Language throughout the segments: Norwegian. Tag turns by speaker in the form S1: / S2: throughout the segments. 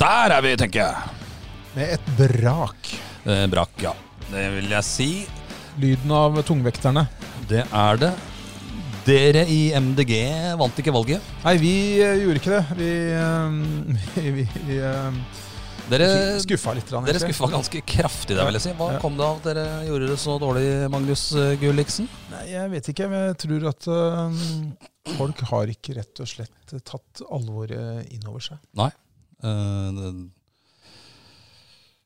S1: Der er vi, tenker jeg.
S2: Med et brak.
S1: Eh, brakk, ja. Det vil jeg si.
S2: Lyden av tungvekterne.
S1: Det er det. Dere i MDG vant ikke valget.
S2: Nei, vi eh, gjorde ikke det. Vi, eh, vi, vi eh,
S1: Dere
S2: skuffa litt. Rann,
S1: Dere skuffa ganske kraftig der, vil jeg si. Hva
S2: Ja.
S1: kom det av at dere gjorde det så dårlig, Magnus eh, Gulliksen?
S2: Nei, jeg vet ikke. Men jeg tror at eh, folk har ikke rett og slett tatt alvoret inn over seg.
S1: Eh, det-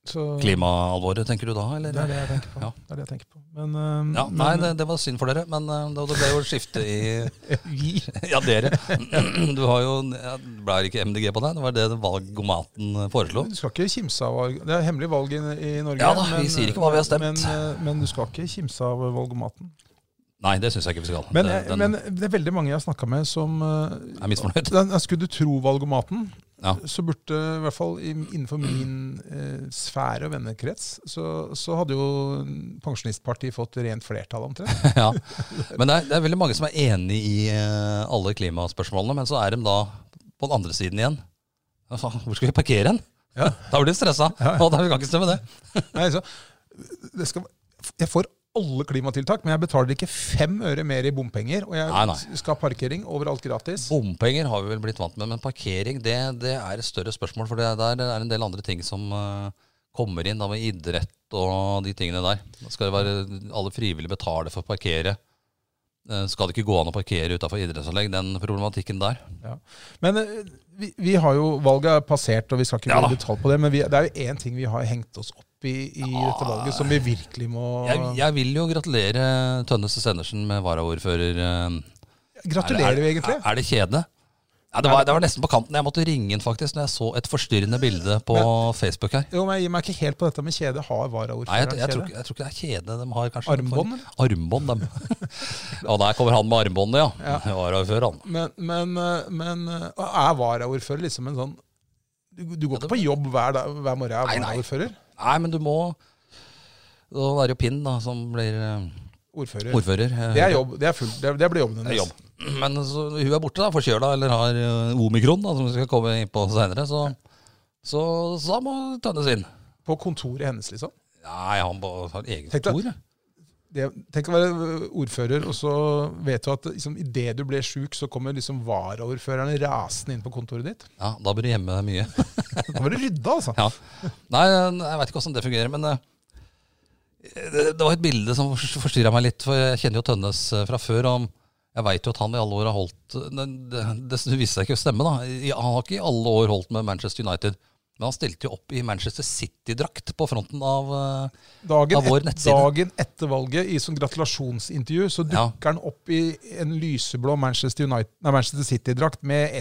S2: Så,
S1: Klimaalvoret, tenker du da,
S2: Det er
S1: eller?
S2: det jeg tenker på.
S1: Ja.
S2: Det er det jeg tenker på. Men, eh,
S1: Ja, nei,
S2: men-
S1: det, det var synd for dere, men eh, det det ble jo et skifte i Vi? Ja, dere. Du har jo ja, det ble ikke MDG på deg, det var det valgomaten foreslo.
S2: Du skal ikke kimse av valg. Det er hemmelig valg i, i Norge.
S1: Ja da, vi sier ikke hva vi har stemt.
S2: Men, eh, men du skal ikke kimse av valgomaten.
S1: Nei, det syns jeg ikke vi skal.
S2: Men,
S1: det, den
S2: men det er veldig mange jeg har snakka med som eh,
S1: er misfornøyd.
S2: den, Skulle du tro valgomaten,
S1: Ja.
S2: så burde i hvert fall i- innenfor min eh, sfære og vennekrets, så, så hadde jo Pensjonistpartiet fått rent flertall, omtrent.
S1: ja. Men det er, det er veldig mange som er enig i eh, alle klimaspørsmålene, men så er de da på den andre siden igjen. Hva faen, Hvor skal vi parkere den?
S2: Ja.
S1: Da blir de stressa.
S2: Ja.
S1: Og da kan vi ikke stemme det.
S2: Nei, så, det skal, jeg får alle klimatiltak, men jeg betaler ikke fem øre mer i bompenger. Og jeg
S1: Nei, nei.
S2: skal ha parkering overalt gratis.
S1: Bompenger har vi vel blitt vant med, men parkering det, det er et større spørsmål. For det der er en del andre ting som eh, kommer inn, da med idrett og de tingene der. Da skal det være alle frivillige betale for å parkere. Eh, Skal det ikke gå an å parkere utafor idrettsanlegg, den problematikken der?
S2: Men eh, vi, vi har jo valget er passert, og vi skal ikke
S1: Ja da.
S2: gå i detalj på det. Men vi, det er jo én ting vi har hengt oss opp i i dette valget, som vi virkelig må
S1: Jeg, jeg vil jo gratulere Tønnes Sendersen med varaordfører. eh,
S2: Gratulerer, vi, egentlig.
S1: Er, er det kjedelig? Ja, det, var, det var nesten på kanten. Jeg måtte ringe inn faktisk når jeg så et forstyrrende bilde på Facebook her.
S2: Jo, men Jeg gir meg ikke helt på dette med kjede. Har
S1: Nei, jeg,
S2: varaordføreren
S1: jeg, tror,
S2: kjede?
S1: ikke- jeg tror ikke det er kjede de har, kanskje.
S2: Armbånd, eller?
S1: Armbånd, dem. Og der kommer han med armbåndet, ja. Det var jo før, han.
S2: Men, men, eh, men eh, er varaordfører liksom en sånn Du, du går ikke på jobb hver, dag, hver morgen er
S1: Nei, nei.
S2: varaordfører?
S1: Nei, men du må Da er det jo Pinn da, som blir eh,
S2: Ordfører.
S1: ordfører.
S2: Det er jobb. Det, er full, det, det blir jobben liksom.
S1: Det er
S2: hennes.
S1: jobb. Men så, hun er borte, da, forkjøla, eller har eh, omikron, da, som vi skal komme inn på seinere. Så, så, så da må Tønnes inn.
S2: På kontoret hennes, liksom.
S1: Nei, han bare har eget
S2: Tenk deg-
S1: kontor. ja.
S2: det, tenk å være eh, ordfører, og så vet du at liksom, idet du ble sjuk, så kommer liksom varaordførerne rasende inn på kontoret ditt.
S1: Ja, da bør du gjemme deg mye.
S2: Da var det rydda, altså!
S1: Ja. Nei, jeg veit ikke åssen det fungerer, men eh, det, det var et bilde som forstyrra meg litt. For jeg kjenner jo Tønnes eh, fra før. Og jeg veit jo at han i alle år har holdt Det, det, det viste seg ikke å stemme, da. I- Han har ikke i alle år holdt med Manchester United. Men han stilte jo opp i Manchester City-drakt på fronten av eh,
S2: Dagen,
S1: Av vår
S2: et,
S1: nettside.
S2: dagen etter valget, i sånn gratulasjonsintervju, så
S1: Ja.
S2: dukker han opp i en lyseblå Manchester, United- nei, Manchester City-drakt med
S1: Ja,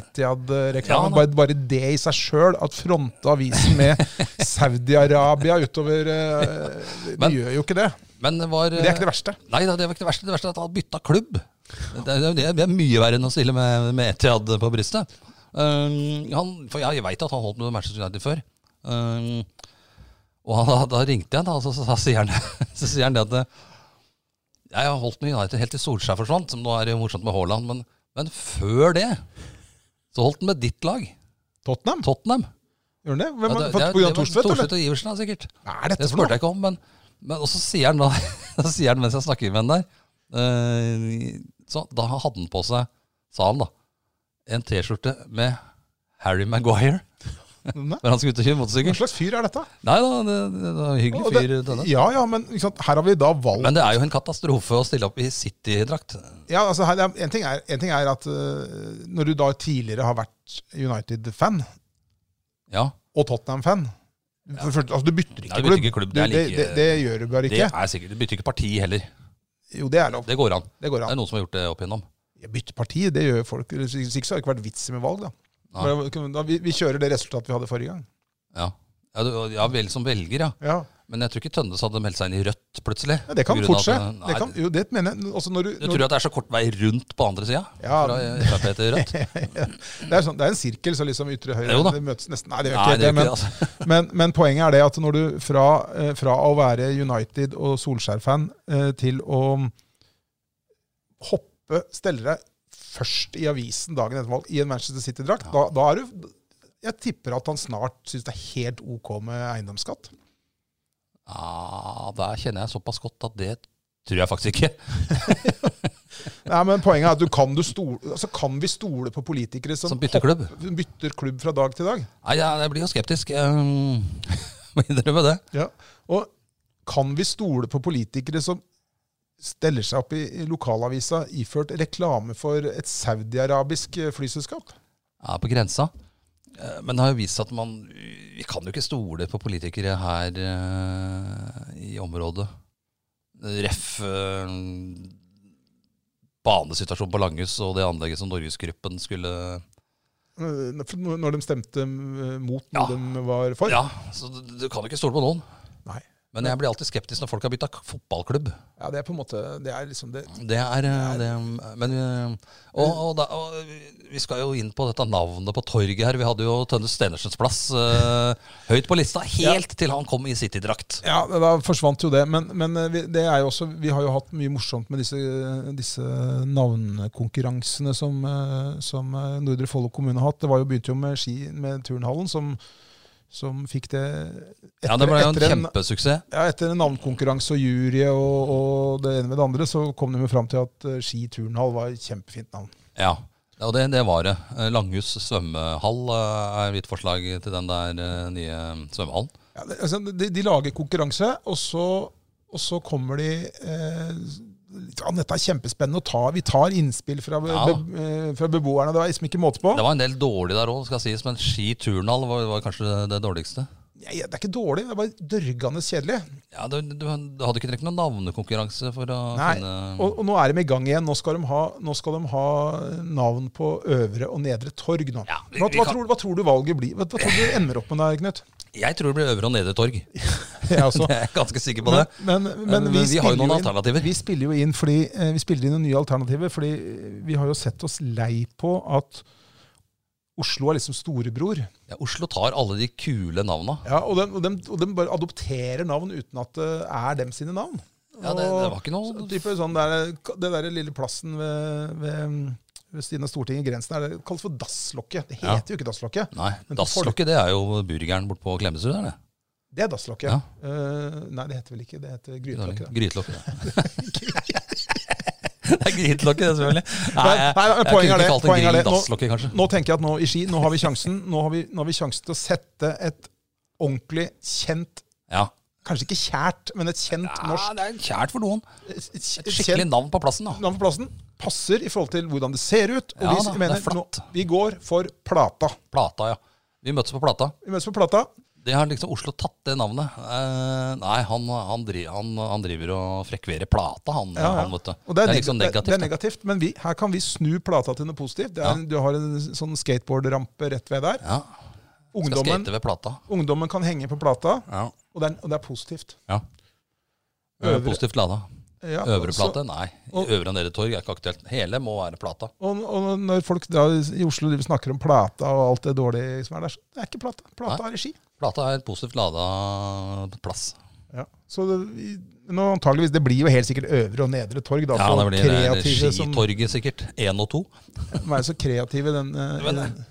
S1: da.
S2: Etiad-reklame. bare, bare det i seg sjøl, at fronte avisen med Saudi-Arabia utover eh,
S1: Men-
S2: De gjør jo ikke det.
S1: Men det var eh,
S2: Men det er ikke det verste.
S1: Nei, da, det var ikke det verste. Det verste er at han bytta klubb. Det, det, det, det er mye verre enn å stille med, med Etiad på brystet. Um, han, for jeg, jeg veit at han holdt med Manchester United før. Um, og han, da, da ringte jeg, da, og så, så, så, sier han, så sier han det at eh, Jeg har holdt med United helt til Solskjær forsvant, som nå er det jo morsomt med Haaland, men, men før det så holdt han med ditt lag,
S2: Tottenham?
S1: Tottenham.
S2: Gjør han det? Hvem,
S1: Ja, det-
S2: ja,
S1: det-
S2: Pga.
S1: det var
S2: Thorstvedt, eller?
S1: Thorstvedt og Iversen, da, sikkert.
S2: Hva er
S1: Det
S2: dette for
S1: spurte
S2: noe?
S1: jeg ikke om, men, men og så sier han da så sier han mens jeg snakker med han der eh, Så da hadde han på seg, sa han da, en T-skjorte med Harry Maguire.
S2: Nei.
S1: Når han skulle ut og kjøre
S2: Hva
S1: motorsykkel.
S2: slags fyr er dette?
S1: Nei da, det, det var en hyggelig
S2: Og det-
S1: fyr. Denne.
S2: Ja, ja, men ikke sant? her har vi da valgt
S1: Men det er jo en katastrofe å stille opp i City-drakt.
S2: ja, altså, her, en, ting er, en ting er at øh, når du da tidligere har vært United-fan,
S1: Ja,
S2: og Tottenham-fan for det første, altså, Du bytter
S1: Ja,
S2: ikke
S1: du bytter
S2: klubb.
S1: ikke klubb, det
S2: Du-
S1: er
S2: det,
S1: like-
S2: det, det gjør du bare
S1: det
S2: ikke.
S1: er sikkert. Du bytter ikke parti heller.
S2: Jo, det er lov.
S1: Det går an.
S2: Det går
S1: Det
S2: an.
S1: er noen som har gjort det opp igjennom.
S2: Jeg bytter parti, det gjør folk. Hvis ikke så har det ikke vært vits i med valg, da.
S1: Nei.
S2: Men da vi, vi kjører det resultatet vi hadde forrige gang.
S1: Ja. Ja, du, ja, vel som velger, ja.
S2: Ja,
S1: Men jeg tror ikke Tønnes hadde meldt seg inn i Rødt plutselig.
S2: ja Det kan
S1: På grunn
S2: fort
S1: av
S2: skje.
S1: at-
S2: Det
S1: Nei,
S2: kan- Jo, det mener jeg. Altså, når du,
S1: Du
S2: når,
S1: tror at det er så kort vei rundt på andre sida?
S2: Ja.
S1: Fra Frp til Rødt?
S2: det, er sånn, det er en sirkel, så liksom ytre høyre
S1: Jo da.
S2: det møtes nesten. Nei, det gjør
S1: Nei,
S2: ikke
S1: det
S2: det,
S1: er
S2: men,
S1: ikke altså. det.
S2: Men, men poenget er det at når du fra, eh, fra å være United og Solskjær-fan eh, til å hoppe, stelle deg først i avisen dagen etter valg i en Manchester City-drakt, da, da er du jeg tipper at han snart syns det er helt ok med eiendomsskatt.
S1: Ah, der kjenner jeg såpass godt at det tror jeg faktisk ikke.
S2: Nei, men Poenget er at du kan, du stole, altså kan vi stole på politikere som,
S1: Som bytter klubb.
S2: hopp- bytter klubb fra dag til dag?
S1: Nei, jeg, jeg blir jo skeptisk. Um, Må innrømme det.
S2: Ja. Og kan vi stole på politikere som steller seg opp i i lokalavisa iført reklame for et saudiarabisk eh, flyselskap?
S1: Jeg er på grensa. Eh, Men det har jo vist seg at man Vi kan jo ikke stole på politikere her eh, i området. Ref. eh, banesituasjonen på Langhus og det anlegget som Norgesgruppen skulle
S2: Eh, for Når når de stemte eh, mot
S1: Ja.
S2: noe de var for?
S1: Ja, så du, du kan jo ikke stole på noen.
S2: Nei.
S1: Men jeg blir alltid skeptisk når folk har bytta k- fotballklubb.
S2: Ja, det er på en måte det er liksom det,
S1: Det er eh, det, Men eh, og, og, da, og vi skal jo inn på dette navnet på torget her. Vi hadde jo Tønnes Stenersens plass eh, høyt på lista, helt til han kom i City-drakt.
S2: Ja, da forsvant jo det. Men, men eh, vi, det er jo også, vi har jo hatt mye morsomt med disse, disse navnekonkurransene som, eh, som eh, Nordre Follo kommune har hatt. Det var jo, begynte jo med, ski, med turnhallen, som, som fikk det etter,
S1: Ja, det ble jo en
S2: etter
S1: kjempesuksess.
S2: ja, etter en navnkonkurranse og jury og, og det ene med det andre, så kom de jo fram til at eh, Ski turnhall var et kjempefint navn.
S1: Ja, ja og det, det var det. Eh, Langhus svømmehall eh, er mitt forslag til den der eh, nye svømmehallen.
S2: Ja, det, altså, de, de lager konkurranse, og så, og så kommer de eh, ja, Dette er kjempespennende. å ta, vi tar innspill fra, be,
S1: Ja.
S2: be, eh, fra beboerne. Det var liksom ikke måte på.
S1: Det var en del dårlig der òg, skal sies, men Ski turnhall var, var kanskje det, det dårligste.
S2: Nei, det er ikke dårlig, det er bare dørgende kjedelig.
S1: Ja, du, du, du hadde ikke trengt noen navnekonkurranse for å
S2: Nei,
S1: finne
S2: Og, og nå er de i gang igjen. Nå skal de ha, nå skal de ha navn på Øvre og Nedre Torg nå.
S1: Ja, vi-
S2: hva,
S1: vi
S2: hva,
S1: kan-
S2: tror, hva tror du valget blir? Hva, hva tror du ender opp med der, Knut?
S1: Jeg tror det blir Øvre og Nedre Torg.
S2: Jeg også.
S1: Jeg er ganske sikker på det. Eh,
S2: Men, men, men,
S1: har jo
S2: vi, spiller
S1: noen
S2: inn-
S1: alternativer.
S2: Vi spiller jo inn fordi eh, vi spiller inn noen nye alternativer, fordi eh, vi har jo sett oss lei på at Oslo er liksom storebror.
S1: Ja, Oslo tar alle de kule navna.
S2: Ja, og de, og dem- og dem bare adopterer navn uten at det er dem sine navn.
S1: Ja, det, det var ikke noe
S2: Og type sånn der, det der lille plassen ved, ved, ved siden av Stortinget, grensen, er det kalles for Dasslokket. Det heter
S1: Ja.
S2: jo ikke Dasslokket.
S1: Nei,
S2: Men for folk-
S1: Dasslokket det er jo burgeren borte på Klemetsrud, er det?
S2: Det er Dasslokket.
S1: Ja.
S2: Eh, nei, det heter vel ikke det. heter Grytelokket. da.
S1: Grytelokket. det er grytelokket, det, selvfølgelig.
S2: Nei,
S1: jeg-
S2: nei,
S1: jeg
S2: poenget er
S1: kunne
S2: det,
S1: ikke kalt det
S2: poenget er det. Nå-
S1: grill-dasslokket, kanskje.
S2: Nå tenker jeg at nå i Ski, nå har vi sjansen. Nå har vi, nå har vi sjansen til å sette et ordentlig kjent
S1: Ja.
S2: Kanskje ikke kjært, men et kjent norsk
S1: ja, det er kjært for noen.
S2: et, et,
S1: Et skikkelig
S2: kjent
S1: navn på plassen, da.
S2: navn på plassen. Passer i forhold til hvordan det ser ut. Og
S1: Ja
S2: vi
S1: da, det er
S2: mener nå,
S1: flatt.
S2: vi går for Plata.
S1: Plata, ja. Vi møttes på Plata.
S2: Vi møtes på Plata.
S1: Det har liksom Oslo tatt, det navnet. Eh, nei, han, han, dri, han, han driver og frekverer Plata, han,
S2: Ja, ja.
S1: han vet du.
S2: Og det er, neg-
S1: liksom
S2: det,
S1: negativt.
S2: det er negativt, men vi, her kan vi snu plata til noe positivt. Det er, Du har en sånn skateboardrampe rett ved der.
S1: da. Ja, skal
S2: Ungdommen,
S1: skate ved Plata.
S2: ungdommen kan henge på plata,
S1: Ja.
S2: og det er, og det er positivt.
S1: ja.
S2: Øvre-
S1: Positivt lada.
S2: Ja,
S1: Øvre
S2: så-
S1: plate? Nei.
S2: og-
S1: Øvre og nedre torg er ikke aktuelt. Hele må være plata.
S2: Og, og når folk da i Oslo driver og snakker om plata og alt det dårlige som er der, så det er ikke plata. Plata
S1: Nei.
S2: er i ski.
S1: Plata er et positivt lada plass.
S2: Ja. Så det, vi- nå antageligvis, det blir jo helt sikkert øvre og nedre torg, da.
S1: Ja,
S2: for
S1: det blir det er
S2: kreative som,
S1: Skitorget, sikkert. Én og to.
S2: være så kreative den eh,
S1: Men,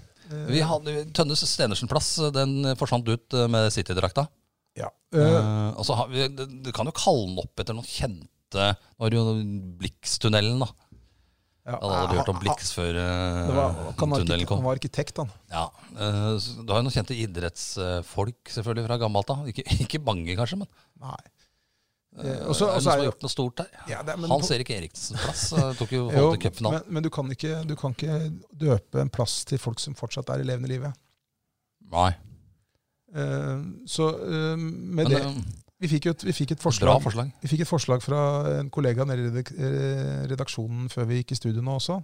S1: Vi hadde Tønnes Stenersen plass, den forsvant ut eh, med City-drakta.
S2: ja. Eh,
S1: Eh, og så har vi- det- Du kan jo kalle den opp etter noen kjente Nå er det jo Blikstunnelen, da.
S2: ja.
S1: Alle hadde hørt om Bliks før eh,
S2: Ah, Det var, han, var
S1: tunnelen
S2: arkitekt, han
S1: kom.
S2: var arkitekt, han.
S1: Ja, eh, så Du har jo noen kjente idrettsfolk selvfølgelig fra gammelt av. Ikke, ikke mange, kanskje, men
S2: Nei.
S1: eh,
S2: Eh, og så-
S1: er det noen
S2: og så
S1: som
S2: er
S1: har
S2: jo-
S1: gjort noe stort der.
S2: Ja, det er- men
S1: Hans
S2: på-
S1: Erik Eriksens plass eh, tok jo
S2: Jo,
S1: Holte Cup-finalen.
S2: men, men du, kan ikke, du kan ikke døpe en plass til folk som fortsatt er i levende live.
S1: Nei.
S2: Eh, så eh, med
S1: Men
S2: det,
S1: det,
S2: vi, fikk jo et, vi, fikk et
S1: bra
S2: forslag,
S1: forslag.
S2: vi fikk et forslag fra en kollega nede i redak- eh, redaksjonen før vi gikk i studio nå også.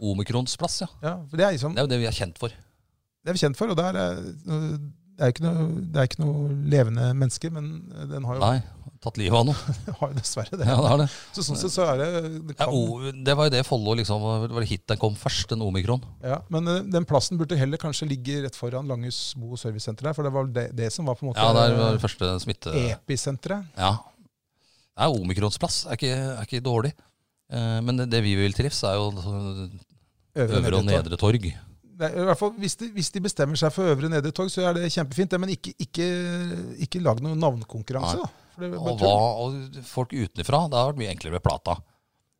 S1: Omikrons plass, ja.
S2: Ja, for det, er liksom,
S1: Det er jo det vi er kjent for.
S2: det er vi kjent for, og det er, eh, det er ikke noe, det er ikke noe levende menneske, men eh, den har jo,
S1: Nei, tatt livet av noe.
S2: har jo dessverre det.
S1: Ja, det, er det.
S2: Så sånn sett så er det, det
S1: Ja,
S2: kan,
S1: o, det var jo det Follo liksom Det var hit den kom først, en omikron.
S2: ja, Men eh, den plassen burde heller kanskje ligge rett foran Langhus bo- og servicesenter der, for det var det, det som var på en måte
S1: Ja, der var det første smitte...
S2: E. episenteret.
S1: Ja. Nei, omikrons plass er ikke, er ikke dårlig. Eh, Men det, det vi vil trives, er jo
S2: Øvre,
S1: øvre og nedre torg.
S2: Nei, i hvert fall, hvis de, hvis de bestemmer seg for øvre nedre torg, så er det kjempefint. Det, men ikke, ikke, ikke lag noen navnkonkurranse,
S1: Nei.
S2: da. For det er bare
S1: Og, hva,
S2: tull.
S1: og folk utenfra, det har vært mye enklere med Plata.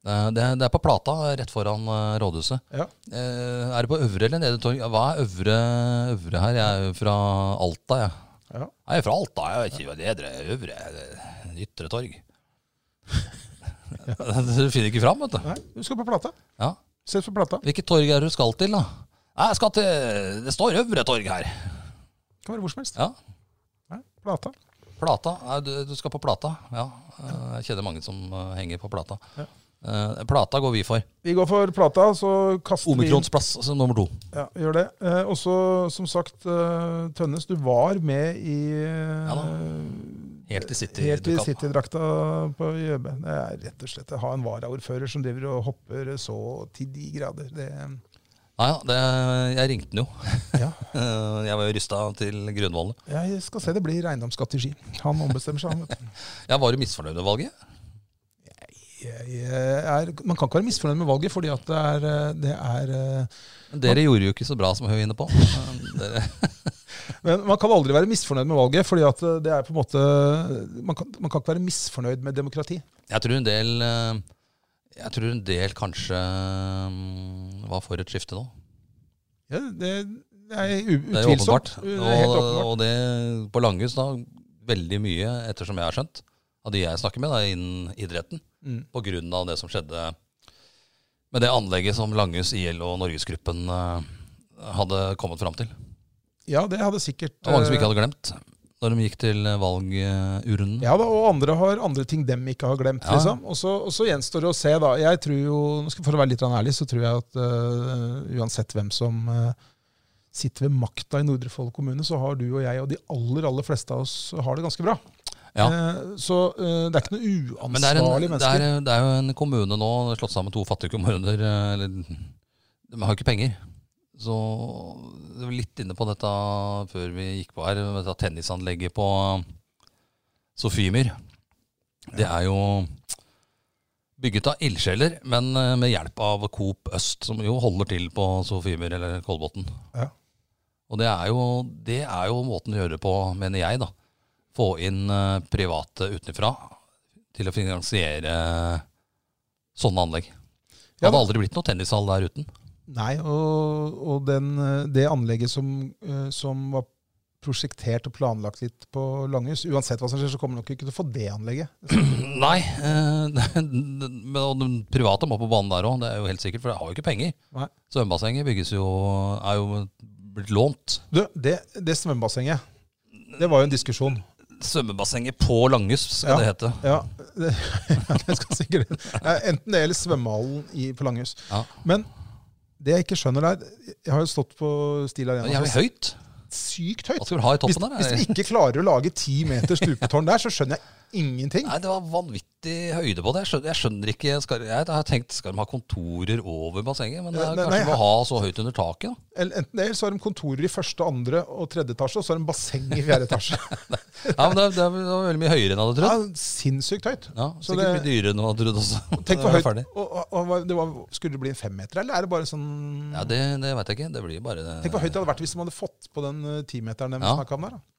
S1: Eh, Det, det er på Plata, rett foran eh, rådhuset.
S2: Ja.
S1: Eh, Er det på øvre eller nedre torg? Ja, Hva er øvre, øvre her? Jeg er jo fra Alta, jeg.
S2: Ja.
S1: Jeg er fra Alta, jeg vet ikke hva nedre, øvre, det- ytre torg. Du finner ikke fram, vet du.
S2: Nei, du skal på plata.
S1: Ja.
S2: Ses på plata.
S1: Hvilket torg er det du skal til, da? Nei, Jeg skal til Det står Øvre torg her.
S2: Det kan være hvor som helst.
S1: Ja.
S2: Nei, plata.
S1: Plata. Nei, du, du skal på Plata. Ja. Eh, Jeg kjenner mange som eh, henger på Plata. Eh, Plata går vi for.
S2: Vi går for plata, så kaster
S1: Omikrons plass som nummer to.
S2: vi inn Ja, gjør det. Eh, og så, som sagt, eh, Tønnes, du var med i eh,
S1: Ja da. Helt i City.
S2: Helt
S1: du
S2: i
S1: kan-
S2: City-drakta på Gjøbe. Det er rett og slett å ha en varaordfører som driver og hopper så til de grader. Det,
S1: Nei, ja, det, jeg ringte den jo.
S2: ja.
S1: Eh, Jeg var jo rysta til grunnvollen.
S2: Jeg skal se det blir eiendomsskatt i Ski. Han ombestemmer seg. han, vet du.
S1: Jeg var jo misfornøyd med valget.
S2: Jeg eh, er, man kan ikke være misfornøyd med valget, fordi at det er, eh, det er eh,
S1: Men Dere gjorde jo ikke så bra som Høy inne på. Eh, Dere,
S2: Men man kan aldri være misfornøyd med valget, fordi at eh, det er på en måte eh, Man kan, man kan ikke være misfornøyd med demokrati.
S1: Jeg tror en del eh, Jeg tror en del kanskje mm, var for et skifte nå.
S2: Ja, det, det er u-
S1: Det er jo åpenbart.
S2: utvilsomt. Mm, Det er
S1: Og,
S2: helt åpenbart.
S1: og det på Langhus, da, veldig mye, ettersom jeg har skjønt, av de jeg snakker med da, innen idretten,
S2: Mm.
S1: på grunn av det som skjedde med det anlegget som Langhus IL og Norgesgruppen eh, hadde kommet fram til.
S2: Ja, det hadde sikkert
S1: Det var mange som
S2: eh,
S1: ikke hadde glemt når de gikk til valgurnen.
S2: Ja da, og andre har andre ting dem ikke har glemt,
S1: Ja.
S2: liksom. Og så, og så gjenstår det å se, da. Jeg tror jo, nå skal- for å være litt grann ærlig, så tror jeg at øh, uansett hvem som øh, sitter ved makta i Nordre Follo kommune, så har du og jeg og de aller, aller fleste av oss har det ganske bra.
S1: Ja.
S2: Eh, så øh, det er ikke noe
S1: Men det er, en,
S2: uansvarlige
S1: det,
S2: mennesker.
S1: er, det er jo en kommune nå, slått sammen to fattige kommuner. eh, Eller, de har jo ikke penger. Så jeg var litt inne på dette før vi gikk på her. med Dette tennisanlegget på eh, Sofiemyr. Det er jo bygget av ildsjeler, men eh, med hjelp av Coop Øst, som jo holder til på Sofiemyr eller Kolbotn.
S2: Ja.
S1: Og det er, jo, det er jo måten å gjøre det på, mener jeg, da. Få inn eh, private utenfra til å finansiere sånne anlegg. Det
S2: Ja,
S1: hadde
S2: da.
S1: aldri blitt noe tennishall der uten.
S2: Nei, og, og den, øh, det anlegget som, øh, som var prosjektert og planlagt litt på Langhus. Uansett hva som skjer, så kommer nok ikke til å få det anlegget.
S1: Nei, eh, men og de private må på banen der òg, det er jo helt sikkert, for de har jo ikke penger.
S2: Nei.
S1: Svømmebassenget bygges jo er jo blitt lånt.
S2: Du, det, det svømmebassenget, det var jo en diskusjon.
S1: Svømmebassenget på Langhus skal det hete.
S2: Ja, det, det skal sikkert Nei, Enten det eller svømmehallen i, på Langhus.
S1: Ja.
S2: Men det jeg ikke skjønner der Jeg har jo stått på Steel
S1: Det
S2: Arena.
S1: er Jævlig
S2: så
S1: høyt.
S2: Sykt
S1: Hva
S2: høyt.
S1: skal du ha i
S2: Hvis,
S1: toppen der?
S2: hvis de ikke klarer å lage ti meter stupetårn der, så skjønner jeg ingenting.
S1: Nei, det var vanvittig høyde på det. Jeg skjønner, jeg skjønner ikke skal, Jeg har tenkt, skal de ha kontorer over bassenget? Men det er
S2: Nei,
S1: kanskje
S2: nei,
S1: de må ha så høyt under taket, da.
S2: Eller Enten det eller så har de kontorer i første, andre og tredje etasje, og så har de basseng i fjerde etasje.
S1: Ja, men det, er- det er- det var veldig mye høyere enn jeg hadde
S2: Det
S1: trodd.
S2: er sinnssykt høyt.
S1: Ja,
S2: Så
S1: sikkert
S2: det-
S1: mye dyrere enn jeg hadde trodd også.
S2: Tenk
S1: Da er
S2: hvor
S1: jeg
S2: høyt
S1: ferdig.
S2: og, og, og, det var, Skulle det bli en femmeter, eller er det bare sånn
S1: Ja, Det, det veit jeg ikke. Det blir bare
S2: Tenk hvor høyt det hadde vært hvis de hadde fått på den eh, timeteren de
S1: Ja.
S2: snakket om der. da.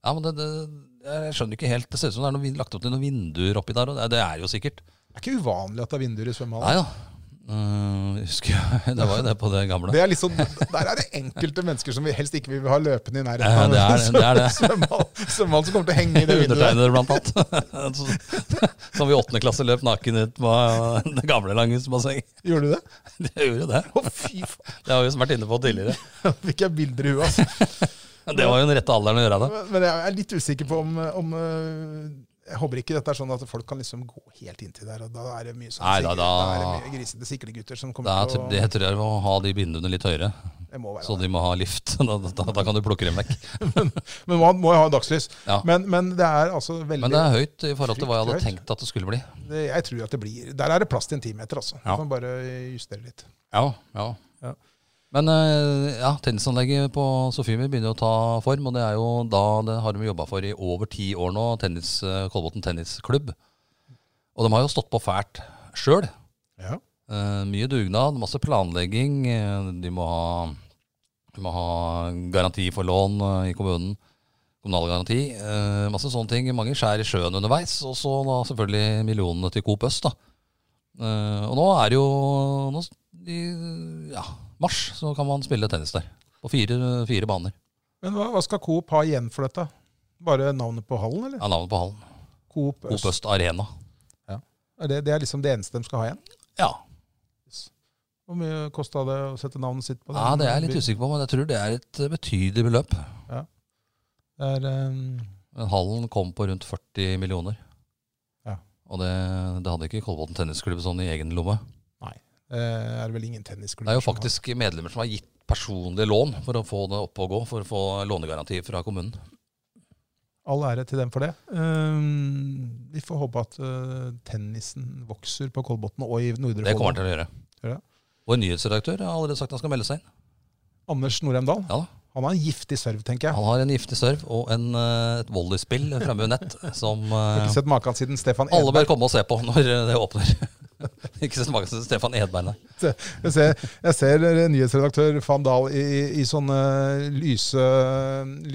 S1: Ja, men det, det, Jeg skjønner ikke helt. Det ser ut som det er noe, vin- lagt opp til noen vinduer oppi der. Og det, det er jo sikkert.
S2: Det er ikke uvanlig at det er vinduer i
S1: Nei
S2: svømmehallen.
S1: da. Eh, husker jeg. Det var jo det på det gamle.
S2: Det er liksom, der er det enkelte mennesker som vi helst ikke vil ha løpende i nærheten
S1: Ja,
S2: av.
S1: det er det. er det.
S2: Svømmehallen svømmehallen som kommer til å henge i det vinduet.
S1: Undertegnede, blant annet. Så- Som vi i åttende klasse løp naken ut på det gamle Langhusbassenget.
S2: Gjorde du det?
S1: Det gjorde det.
S2: Å, fy faen.
S1: Det har vi vært inne på tidligere.
S2: Fikk jeg bilder i huet, altså.
S1: Det var jo den rette alderen å gjøre det.
S2: Men- Men jeg er litt usikker på om, om øh, Jeg håper ikke dette er sånn at folk kan liksom gå helt inntil der, og da er det mye sånn
S1: Nei, da-
S2: sikre-
S1: da-
S2: da er det mye grisete siklegutter som
S1: Det,
S2: kommer
S1: er,
S2: til å
S1: tr- det tror jeg vi må ha de vinduene litt høyere,
S2: Det må være
S1: så de må ha lift. Da, da, da kan du plukke dem vekk.
S2: Men man må jo ha dagslys.
S1: Ja.
S2: Men, men det er altså veldig
S1: Men det er høyt i forhold til hva jeg hadde
S2: Fryktelig høyt.
S1: tenkt at det skulle bli.
S2: det, Jeg tror at det blir Der er det plass til en timeter, altså.
S1: Ja.
S2: Du kan bare justere litt.
S1: Ja, ja.
S2: Ja.
S1: Men eh, ja, tennisanlegget på Sofiemyr begynner å ta form, og det er jo da det har de jobba for i over ti år nå, tennis, eh, Kolbotn tennisklubb. Og de har jo stått på fælt sjøl.
S2: Ja.
S1: mye dugnad, masse planlegging. eh, de må Eh, ha Du må ha garanti for lån eh, i kommunen. Kommunal garanti. Eh, masse sånne ting. Mange skjær i sjøen underveis. Og så da selvfølgelig millionene til Coop Øst. da. Eh, og nå er det jo nå, s- i ja, mars så kan man spille tennis der. På fire, fire baner.
S2: Men hva, hva skal Coop ha igjen for dette? Bare navnet på hallen, eller?
S1: Ja, navnet på hallen.
S2: Coop
S1: Coop
S2: Øst.
S1: Øst Arena.
S2: Er det, det er liksom det eneste de skal ha igjen?
S1: Ja.
S2: Hvor mye kosta det å sette navnet sitt på det?
S1: ja, det er jeg litt usikker på, men jeg tror det er et eh, betydelig beløp.
S2: Det er, eh,
S1: Men hallen kom på rundt 40 millioner.
S2: Ja.
S1: Og det, det hadde ikke Kolbotn tennisklubb sånn i egen lomme.
S2: eh, er det vel ingen tennisklubb
S1: Det er jo
S2: som har-
S1: faktisk medlemmer som har gitt personlige lån for å få det opp og gå, for å få lånegaranti fra kommunen.
S2: All ære til dem for det. Ehm, vi får håpe at eh, tennisen vokser på Kolbotn og i Nordre
S1: Det kommer han til å gjøre.
S2: Gjør det?
S1: Vår nyhetsredaktør har allerede sagt han skal melde seg inn.
S2: Anders Norheim Dahl.
S1: Ja da.
S2: Han har en giftig serv, tenker jeg.
S1: Han har en giftig serv og en, eh, et volleyspill framme ved nett som
S2: Jeg har
S1: eh,
S2: ikke sett maken siden Stefan
S1: alle
S2: Edberg.
S1: bør komme og se på når eh, det åpner. ikke så mange som Stefan Edberg, nei.
S2: Jeg ser, jeg ser eh, nyhetsredaktør Van Dahl i, i sånne lyse,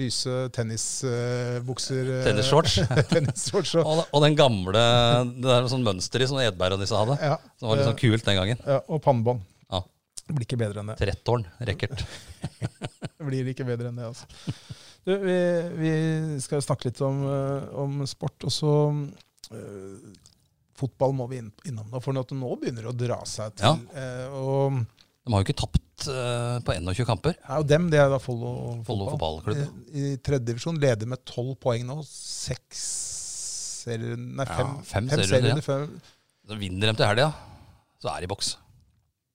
S2: lyse tennisbukser. eh,
S1: Tennisshorts.
S2: tennisshorts og,
S1: Og, og den gamle Det der med sånn mønster i, som Edberg og disse hadde.
S2: ja,
S1: Som var litt sånn kult den gangen.
S2: ja, og pannebånd.
S1: Ja.
S2: Det blir ikke bedre enn det.
S1: Trettårn, racket.
S2: Det blir ikke bedre enn det, altså. Du, vi, vi skal snakke litt om, eh, om sport, og så eh, Fotball må vi inn, innom nå, for nå- nå begynner det å dra seg til. Eh, og,
S1: De har jo ikke tapt eh, på 21 kamper.
S2: ja, og dem, det er da Follo Eh,
S1: Follo fotballklubb. ja.
S2: I, i tredje divisjon leder med tolv poeng nå. Seks serier Nei,
S1: Ja,
S2: fem,
S1: fem
S2: fem
S1: serier
S2: serier.
S1: under,
S2: fem-
S1: Så vinner de til helga, så er de i boks.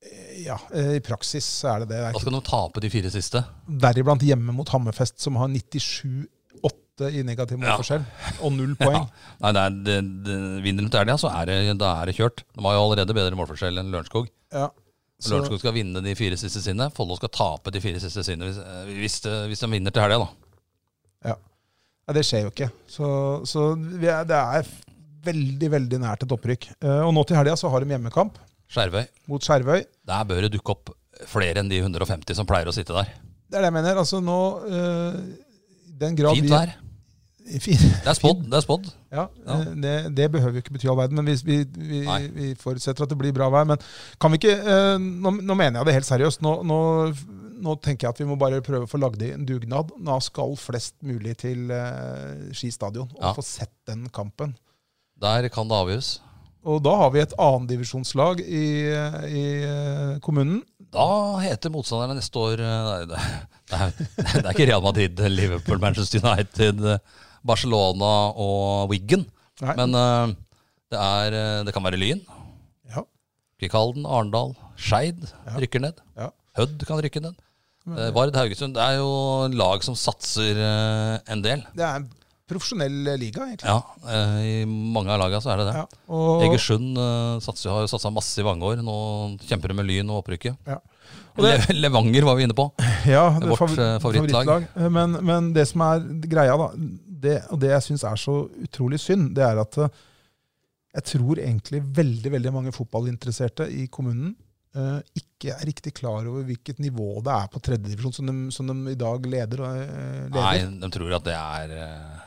S2: eh, Ja, eh, i praksis så er det det. det er
S1: Da
S2: ikke,
S1: skal de tape de fire siste.
S2: deriblant hjemme mot Hammerfest, som har 97-8 i negativ
S1: Ja.
S2: målforskjell, og null poeng.
S1: Nei, nei det, det, vinner de til helga, så er det, da er det kjørt. De har jo allerede bedre målforskjell enn Lørenskog.
S2: Ja. Så,
S1: Lørenskog skal vinne de fire siste sine. Follo skal tape de fire siste sine hvis, eh, hvis, det- hvis de vinner til helga, da.
S2: ja, det skjer jo ikke. Så, så vi er, det er f- veldig, veldig nært et opprykk. Eh, og nå til helga så har de hjemmekamp
S1: Skjervøy.
S2: mot Skjervøy.
S1: Der bør det dukke opp flere enn de 150 som pleier å sitte der.
S2: Det er det jeg mener. Altså nå eh, i den grad
S1: Fint
S2: vi-
S1: vær.
S2: Fint
S1: Det er spådd. Det er spådd.
S2: Ja,
S1: Ja.
S2: eh, Det, det behøver jo ikke bety all verden, men vi, vi, vi,
S1: Nei.
S2: vi forutsetter at det blir bra vær. Men kan vi ikke eh, Nå, nå mener jeg det helt seriøst. Nå, nå, nå tenker jeg at vi må bare prøve å få lagd i en dugnad. Nå skal flest mulig til eh, Ski stadion og
S1: Ja.
S2: få sett den kampen.
S1: Der kan det avgjøres.
S2: Og da har vi et annendivisjonslag i, eh, i eh, kommunen.
S1: Da heter motstanderne neste år eh, Nei, det, det, er, det er ikke Real Madrid, Liverpool, Manchester United, eh, Barcelona og Wiggen.
S2: Nei.
S1: Men eh, det, er, eh, det kan være Lyn,
S2: ja.
S1: Kvikalden, Arendal, Skeid
S2: Ja.
S1: rykker ned.
S2: Ja.
S1: Hødd kan rykke ned. Eh, Vard Haugesund. Det er jo lag som satser eh, en del.
S2: Det er en profesjonell liga, egentlig.
S1: Ja, eh, I mange av lagene så er det det.
S2: Ja. Og,
S1: Egersund eh, satser, har jo satsa masse i mange år. Nå kjemper de med Lyn og opprykket.
S2: Ja. Og
S1: Le Levanger var vi inne på.
S2: Ja, det er
S1: Vårt,
S2: favor-
S1: eh, favorittlag.
S2: Eh, Men, men det som er greia, da, det, og det jeg syns er så utrolig synd, det er at eh, jeg tror egentlig veldig veldig mange fotballinteresserte i kommunen eh, ikke er riktig klar over hvilket nivå det er på tredjedivisjon som, de- som de i dag leder. eh,
S1: Nei,
S2: leder.
S1: de tror at det er eh,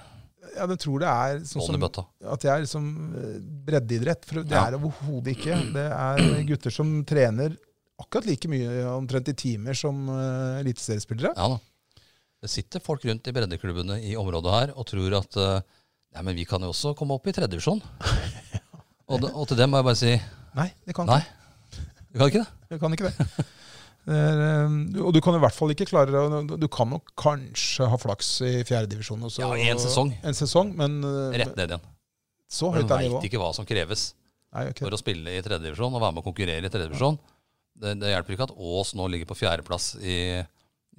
S2: Ja, de tror det er sånn
S1: bånn i
S2: som,
S1: bøtta.
S2: at det er liksom eh, breddeidrett. For det
S1: Ja.
S2: er det overhodet ikke. Det er gutter som trener akkurat like mye omtrent i timer som eh, eliteseriespillere.
S1: Ja da. Det sitter folk rundt i breddeklubbene i området her og tror at eh, Nei, men vi kan jo også komme opp i tredje divisjon. Og, da- og til dem må jeg bare si
S2: Nei, det kan
S1: Nei. Du kan ikke det?
S2: Jeg kan ikke det. det er, eh, du- og du kan i hvert fall ikke klare deg Du kan nok kanskje ha flaks i fjerdedivisjon.
S1: Ja, i en sesong.
S2: En sesong, men eh,
S1: Rett ned igjen.
S2: så
S1: For
S2: høyt
S1: de
S2: er
S1: veit
S2: nivået.
S1: ikke hva som kreves
S2: Nei, ok.
S1: for å spille i tredje divisjon og være med å konkurrere i tredje divisjon. Det, det hjelper ikke at Ås nå ligger på fjerdeplass i,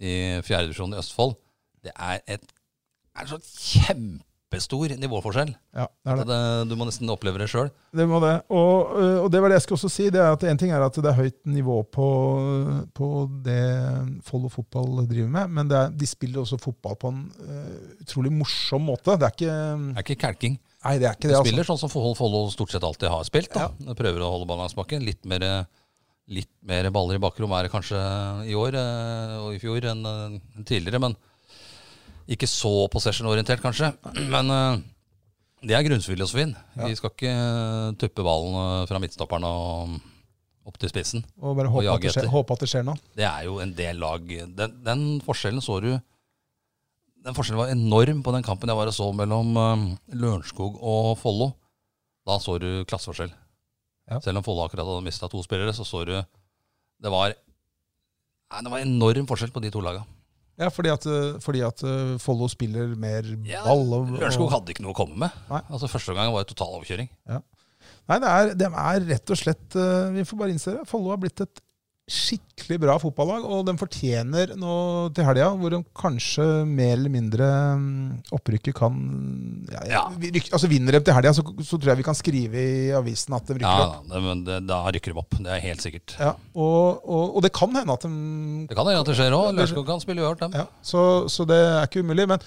S1: i fjerde divisjon i Østfold. Det er, et, er en sånn kjempestor nivåforskjell.
S2: Ja, det er det.
S1: Det, du må nesten oppleve det sjøl.
S2: Det må det. Og, eh, og det var det jeg skulle også si. Det er at en ting er at det er høyt nivå på, på det Follo fotball driver med, men det er, de spiller også fotball på en eh, utrolig morsom måte. Det er ikke
S1: Det er ikke kalking.
S2: Nei, det er ikke
S1: Du
S2: det, altså.
S1: spiller sånn som Follo- Follo stort sett alltid har spilt. da. Prøver å holde balansebakken. Litt mer eh, litt mer baller i bakrommet er det kanskje i år eh, og i fjor enn eh, enn tidligere. Men ikke så possession-orientert, kanskje. Men eh, det er grunnfilosofien.
S2: Ja.
S1: Vi skal ikke eh, tuppe ballen eh, fra midtstopperne og opp til spissen.
S2: Og bare håpe,
S1: jage
S2: at det skjer,
S1: etter.
S2: håpe at det skjer noe.
S1: Det er jo en del lag Den, den forskjellen så du Den forskjellen var enorm på den kampen jeg var og så mellom eh, Lørenskog og Follo. Da så du klasseforskjell.
S2: Ja.
S1: Selv om Follo akkurat hadde mista to spillere, så så du Det var Nei, det var enorm forskjell på de to laga.
S2: Ja, fordi at, eh, fordi at eh, Follo spiller mer
S1: Ja,
S2: ball. og-
S1: Lørenskog
S2: og-
S1: hadde ikke noe å komme med.
S2: Nei.
S1: Altså Første omgang var det total overkjøring.
S2: Nei, det er, de er rett og slett eh, Vi får bare innse det. Follo har blitt et skikkelig bra fotballag, og de fortjener nå til helga, hvor de kanskje mer eller mindre mm, opprykket kan ja,
S1: Ja.
S2: vi ryk- Altså Vinner de til helga, så, så tror jeg vi kan skrive i avisen at de rykker
S1: Ja,
S2: opp.
S1: da, men det, Da rykker de opp, det er helt sikkert.
S2: Ja, og, og, og det kan hende at de
S1: Det kan hende at det skjer òg. Lørenskog kan spille uavgjort, dem.
S2: ja, så, så det er ikke umulig. Men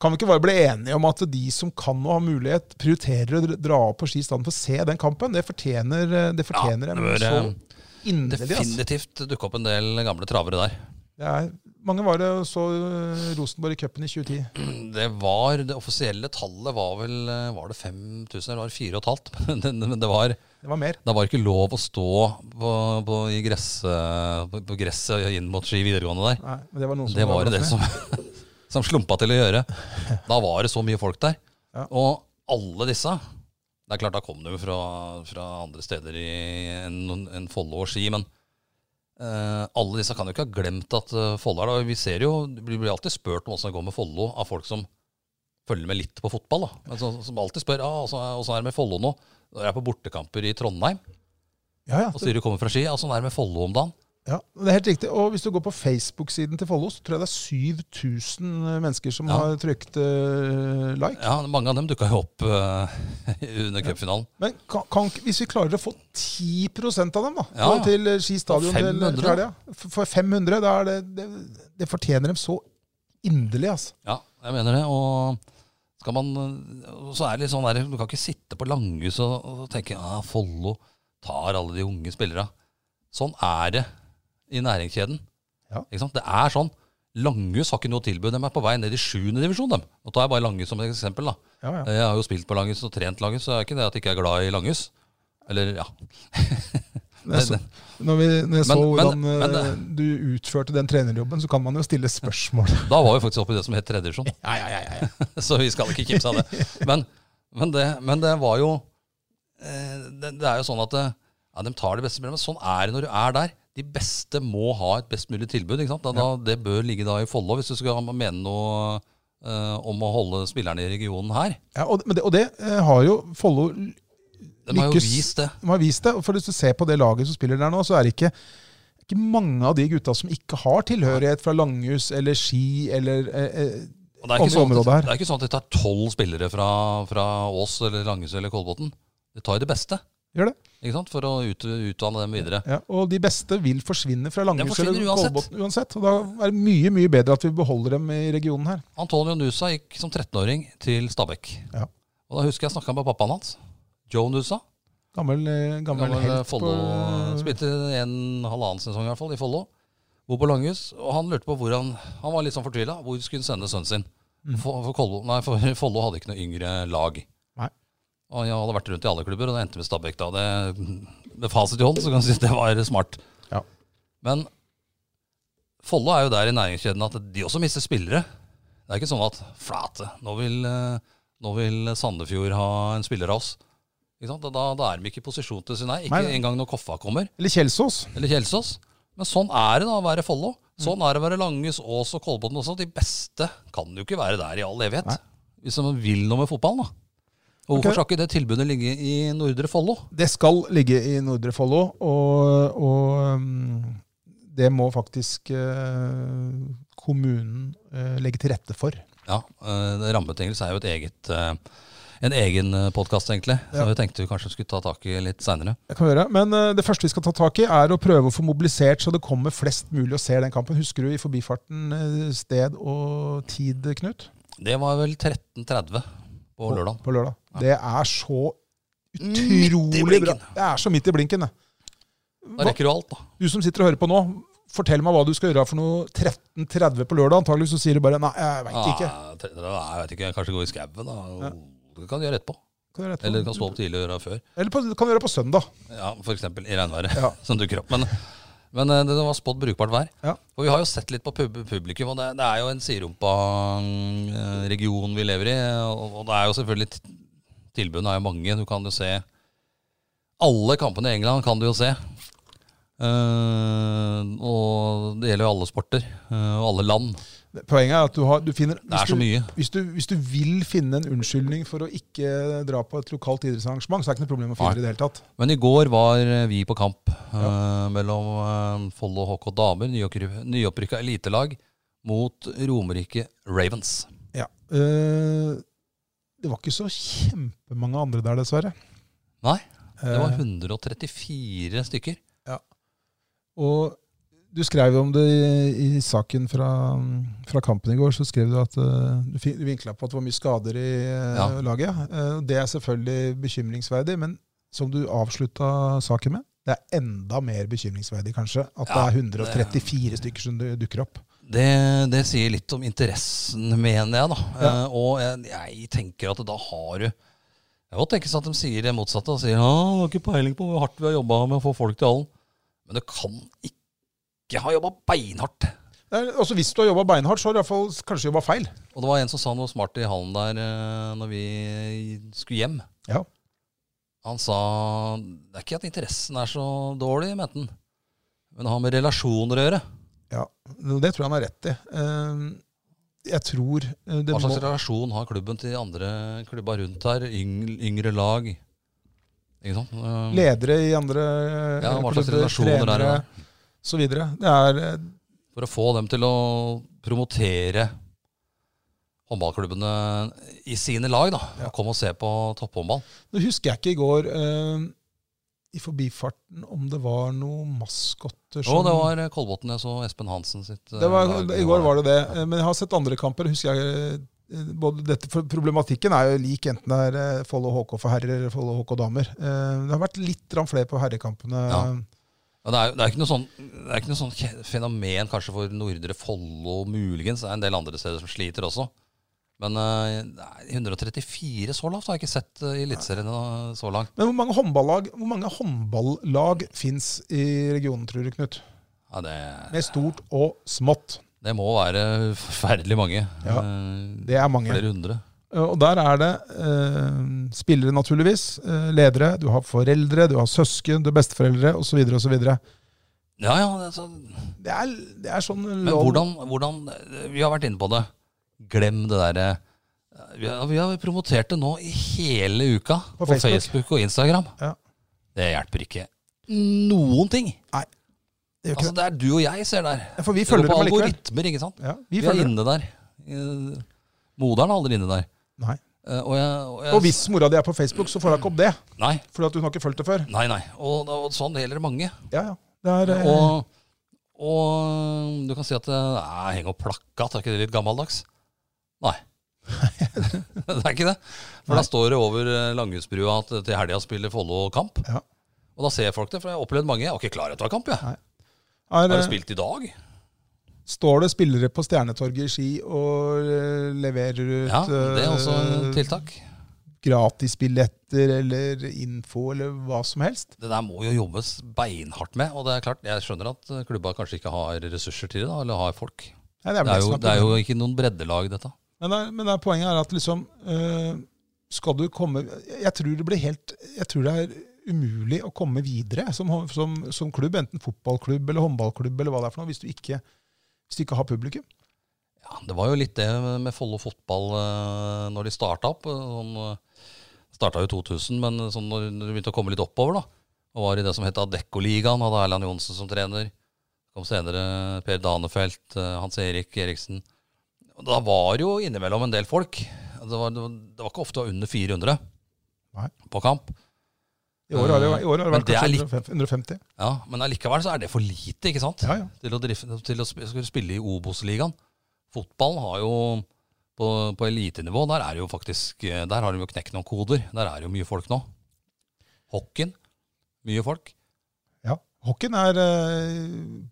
S2: kan vi ikke bare bli enige om at de som kan og har mulighet, prioriterer å dra- dra opp på ski i stedet for å se den kampen? Det fortjener, eh, det fortjener
S1: det
S2: dem
S1: bør, eh,
S2: så inderlig. altså.
S1: Definitivt dukke opp en del gamle travere der.
S2: Det er, mange var det og så øh, Rosenborg i cupen i 2010.
S1: Det var, det offisielle tallet var vel eh, Var det 5000 eller var det 4500? Men det- Men det var,
S2: Det var mer.
S1: da var det ikke lov å stå på, på, i gress, eh, på, på gresset inn mot Ski videregående der.
S2: Nei, men det var noen som
S1: Det var det det
S2: overraskende.
S1: som, som slumpa til å gjøre. Da var det så mye folk der.
S2: Ja.
S1: Og alle disse Det er klart, da kom de jo fra, fra andre steder i- enn enn Follo og Ski, men eh, alle disse kan jo ikke ha glemt at eh, Follo er der. Og Vi ser jo, det blir blir alltid spurt om åssen det går med Follo av folk som følger med litt på fotball. da. Men som, som alltid spør ah, åssen er åssen er det med Follo nå. Når jeg er på bortekamper i Trondheim,
S2: Ja, ja.
S1: og styret kommer fra Ski, «Ah, åssen er det med Follo om dagen?
S2: Ja, det er helt riktig. Og hvis du går på Facebook-siden til Follo, så tror jeg det er 7000 mennesker som
S1: Ja.
S2: har trykt øh, like.
S1: Ja, Mange av dem dukka jo opp eh, under cupfinalen.
S2: Men kan, kan, ikke- hvis vi klarer å få 10 av dem da,
S1: Ja, ja.
S2: til eh, Ski stadion til
S1: 500,
S2: til helga, for for 500, da er det, det, det fortjener dem så inderlig. altså.
S1: Ja, jeg mener det. Og skal man, og så er det litt sånn der, du kan ikke sitte på Langhus og, og tenke at ah, Follo tar alle de unge spillerne. Sånn er det i næringskjeden.
S2: Ja.
S1: Ikke sant? Det er sånn. Langhus har ikke noe tilbud. De er på vei ned i sjuende divisjon. Dem. Nå tar jeg bare Langhus som et eksempel. da.
S2: Ja, ja.
S1: Jeg har jo spilt på Langhus og trent Langhus, så det er ikke det at jeg ikke er glad i Langhus. Eller ja.
S2: Når jeg så, når vi, når jeg så
S1: Men-
S2: hvordan
S1: men- men
S2: eh, du utførte den trenerjobben, så kan man jo stille spørsmål.
S1: Da var vi faktisk oppe i det som het tredje divisjon.
S2: ja, ja, ja, ja, ja.
S1: så vi skal ikke kimse av det. Men, men, det, men det var jo eh, det, det er jo sånn at eh, ja, de tar det beste spillet, men sånn er det når du er der. De beste må ha et best mulig tilbud. ikke sant? Da, da, det bør ligge da i Follo, hvis du skal mene noe eh, om å holde spillerne i regionen her.
S2: Ja, og, men det, og det eh, har jo Follo
S1: De har jo
S2: Lykkes.
S1: vist det.
S2: de har vist det. For hvis du ser på det laget som spiller der nå, så er det ikke, ikke mange av de gutta som ikke har tilhørighet fra Langhus eller Ski eller eh, eh,
S1: Og det, er ikke
S2: Også
S1: sånn at,
S2: området her.
S1: det er ikke sånn at de tar tolv spillere fra, fra Ås eller Langesø eller Kolbotn. De tar jo det beste
S2: Gjør det.
S1: ikke sant? for å ut, utdanne dem videre.
S2: Ja, og de beste vil forsvinne fra Langhus
S1: forsvinner
S2: eller
S1: uansett.
S2: Kolbotn uansett. Og da er det mye mye bedre at vi beholder dem i regionen her.
S1: Antonio Nusa gikk som 13-åring til Stabekk.
S2: Ja.
S1: Og da husker jeg snakka med pappaen hans. Joe Nusa.
S2: Gammel, eh, gammel,
S1: Gammel
S2: helt
S1: Follo. eh,
S2: på
S1: Spilte en halvannen sesong i hvert fall i Follo. Bor på Langhus. Og han lurte på hvor han Han var litt sånn fortvila. Hvor skulle han sende sønnen sin?
S2: Mm.
S1: For, for, Kolbo, nei, for Follo hadde ikke noe yngre lag.
S2: Nei.
S1: Og jeg hadde vært rundt i alle klubber, og det endte med Stabæk. da. Det, med fasit i hånd så kan du si at det var smart.
S2: Ja.
S1: Men Follo er jo der i næringskjeden at de også mister spillere. Det er ikke sånn at flate, nå vil, eh, nå vil Sandefjord ha en spiller av oss. Ikke sant? Da, da er de ikke i posisjon til å si nei. Ikke
S2: Nei, nei.
S1: engang når Koffa kommer,
S2: Eller Kjelsås.
S1: eller Kjelsås. Men sånn er det da å være Follo.
S2: Mm.
S1: Sånn er det å være Langhus, Ås og Kolbotn også. De beste kan jo ikke være der i all evighet.
S2: Nei.
S1: Hvis man vil noe med fotballen, da. Og hvorfor
S2: Ok.
S1: skal ikke det tilbudet ligge i Nordre Follo?
S2: Det skal ligge i Nordre Follo, og, og um, det må faktisk eh, kommunen eh, legge til rette for.
S1: Ja, eh, det Rammebetingelser er jo et eget eh, en egen podkast, egentlig.
S2: Ja.
S1: Som vi tenkte vi kanskje skulle ta tak i litt seinere.
S2: Jeg kan høre, Men eh, det første vi skal ta tak i, er å prøve å få mobilisert så det kommer flest mulig og ser den kampen. Husker du i forbifarten eh, sted og tid, Knut?
S1: Det var vel 13.30 på lørdag.
S2: På lørdag.
S1: Ja.
S2: Det er så
S1: Midt i
S2: utrolig bra.
S1: blinken.
S2: Det er så midt i blinken, det.
S1: Da rekker du alt, da.
S2: Du som sitter og hører på nå, fortell meg hva du skal gjøre for noe 13.30 på lørdag. Antagelig så sier du bare 'nei, jeg veit ikke'.
S1: Ah, tre- nei, jeg vet ikke, Kanskje gå i skauen. da.
S2: Ja.
S1: Det kan du gjøre etterpå.
S2: Kan du gjøre etterpå?
S1: Eller du kan stå opp tidlig og gjøre det før.
S2: Eller på, kan du gjøre det på søndag.
S1: Ja, F.eks. i regnværet
S2: Ja.
S1: som dukker opp. Men, men eh, det var spådd brukbart vær.
S2: Ja.
S1: Og vi har jo sett litt på pub publikum, og det, det er jo en siderumpa-region vi lever i. Og, og det er jo selvfølgelig t- Tilbudene er jo mange. Du kan jo se Alle kampene i England kan du jo se. Eh, og det gjelder jo alle sporter eh, og alle land.
S2: Poenget er at du, har, du finner
S1: Det er så
S2: du,
S1: mye.
S2: hvis, du, hvis du vil finne en unnskyldning for å ikke dra på et lokalt idrettsarrangement, så er det ikke noe problem å finne
S1: Nei.
S2: det i det hele tatt.
S1: Men i går var eh, vi på kamp eh, mellom eh, Follo HK Damer, nyoppry- nyopprykka elitelag, mot Romerike Ravens.
S2: Ja. Eh, det var ikke så kjempemange andre der, dessverre.
S1: Nei, det var
S2: Eh,
S1: 134 stykker.
S2: og du skrev om det i, i saken fra, fra kampen i går. Så skrev du at eh, du, fi- du vinkla på at det var mye skader i eh,
S1: Ja.
S2: laget. Eh, det er selvfølgelig bekymringsverdig, men som du avslutta saken med, det er enda mer bekymringsverdig, kanskje,
S1: Ja,
S2: at det er 134 stykker som du- dukker opp.
S1: Det, det sier litt om interessen, mener jeg, da. Eh, og jeg, jeg tenker at da har du Det kan godt tenkes sånn at de sier det motsatte og sier at de har ikke peiling på hvor hardt vi har jobba med å få folk til hallen. Men du kan ikke ha jobba beinhardt.
S2: Det er- Også hvis du har jobba beinhardt, så har du iallfall kanskje jobba feil.
S1: Og det var en som sa noe smart i hallen der eh, når vi skulle hjem.
S2: Ja.
S1: Han sa det er ikke at interessen er så dårlig, mente han. Men det har med relasjoner å gjøre.
S2: Ja, Det tror jeg han har rett i. Eh, Jeg tror eh, det
S1: Hva slags
S2: må
S1: relasjon har klubben til de andre klubba rundt her? Yng, yngre lag? Ikke sant? Eh,
S2: ledere i andre
S1: Ja, hva slags
S2: klubber,
S1: relasjoner er det
S2: trenere,
S1: da?
S2: Så videre. Det er eh,
S1: For å få dem til å promotere håndballklubbene i sine lag, da.
S2: Ja.
S1: Kom og se på topphåndball.
S2: Nå husker jeg ikke i går eh, i forbifarten om det var noen maskotter
S1: Jo, det var Kolbotn jeg så Espen Hansen sitt eh,
S2: Det var,
S1: lag.
S2: I går var det det. Eh, Men jeg har sett andre kamper. husker jeg eh, både dette, for Problematikken er jo lik enten det er eh, Follo HK for herrer eller Follo HK damer. Eh, Det har vært litt grann flere på herrekampene.
S1: Ja. Ja, Det er, jo- det, er ikke noe sånn, det er ikke noe sånn kje- fenomen kanskje for Nordre Follo, muligens. Det er en del andre steder som sliter også. Men eh, nei, 134 så lavt har jeg ikke sett eh, i Eliteserien eh, så langt.
S2: Men hvor mange håndballag, hvor mange håndballag fins i regionen, tror du, Knut?
S1: Ja, det,
S2: Med stort og smått.
S1: det må være forferdelig mange.
S2: Ja,
S1: Eh,
S2: Det er mange.
S1: Flere hundre.
S2: Og der er det eh, spillere, naturligvis. Eh, ledere. Du har foreldre, du har søsken, du har besteforeldre osv. osv. Det,
S1: Ja, ja. Det er sånn.
S2: er- det er sånn
S1: Men hvordan, hvordan Vi har vært inne på det. Glem det derre vi, har- vi har promotert det nå i hele uka
S2: På
S1: på,
S2: Facebook.
S1: Facebook. og Instagram.
S2: Ja.
S1: Det hjelper ikke noen ting.
S2: Det gjør ikke
S1: Altså, det er du og jeg ser der.
S2: det. For vi
S1: Vi følger
S2: følger
S1: på
S2: dem allikevel.
S1: algoritmer, ikke sant?
S2: Ja,
S1: Vi,
S2: vi
S1: er
S2: følger dem.
S1: inne der. Eh, Moderen er aldri inne der.
S2: Nei.
S1: Eh, Og, jeg, og, jeg,
S2: Og hvis mora di er på Facebook, så får hun ikke opp det.
S1: Nei,
S2: Fordi at hun har ikke fulgt det før.
S1: nei. nei. Og, og sånn gjelder det mange.
S2: Ja, ja. Det er, eh,
S1: Og, og du kan si at eh, nei, heng opp plakat, er ikke det litt gammeldags? Nei. det er ikke det. For
S2: Nei.
S1: da står det over eh, Langhusbrua at til helga spiller Follo kamp.
S2: Ja.
S1: Og da ser folk det, for jeg har opplevd mange. Jeg var ikke klar over at det var kamp, jeg.
S2: er,
S1: Har
S2: eh,
S1: du spilt i dag?
S2: står det spillere på Stjernetorget i Ski og eh, leverer ut
S1: Ja, det er også
S2: eh,
S1: et tiltak.
S2: gratisbilletter eller info eller hva som helst?
S1: Det der må jo jobbes beinhardt med. Og det er klart, jeg skjønner at eh, klubba kanskje ikke har ressurser til det, da, eller har folk.
S2: Nei,
S1: Det
S2: vel
S1: er jo,
S2: som
S1: det er jo ikke noen breddelag, dette.
S2: Men, det er- men det er poenget er at liksom eh, Skal du komme Jeg tror det blir helt Jeg tror det er umulig å komme videre som, som, som klubb, enten fotballklubb eller håndballklubb eller hva det er for noe, hvis du ikke, hvis du ikke har publikum.
S1: Ja, det var jo litt det med Follo fotball eh, når de starta opp. eh, Sånn, eh, starta jo i 2000, men sånn når når det begynte å komme litt oppover, da, og var i det som het Adeccoligaen, hadde Erland Johnsen som trener. Kom senere Per Danefelt, eh, Hans Erik Eriksen. Og Da var det jo innimellom en del folk. Det var, det var, det var ikke ofte det var under 400
S2: Nei.
S1: på kamp.
S2: I år har det, i år har det
S1: Men
S2: vært
S1: det er
S2: kanskje
S1: litt-
S2: 150 150.
S1: Ja, Men allikevel så er det for lite, ikke sant?
S2: Ja, ja.
S1: til å, drifte, til å sp- skulle spille i Obos-ligaen. Fotballen har jo på, på elitenivå, der er det jo faktisk eh, Der har de jo knekt noen koder. Der er det jo mye folk nå. Hockeyen, mye folk.
S2: ja. Hockeyen er eh,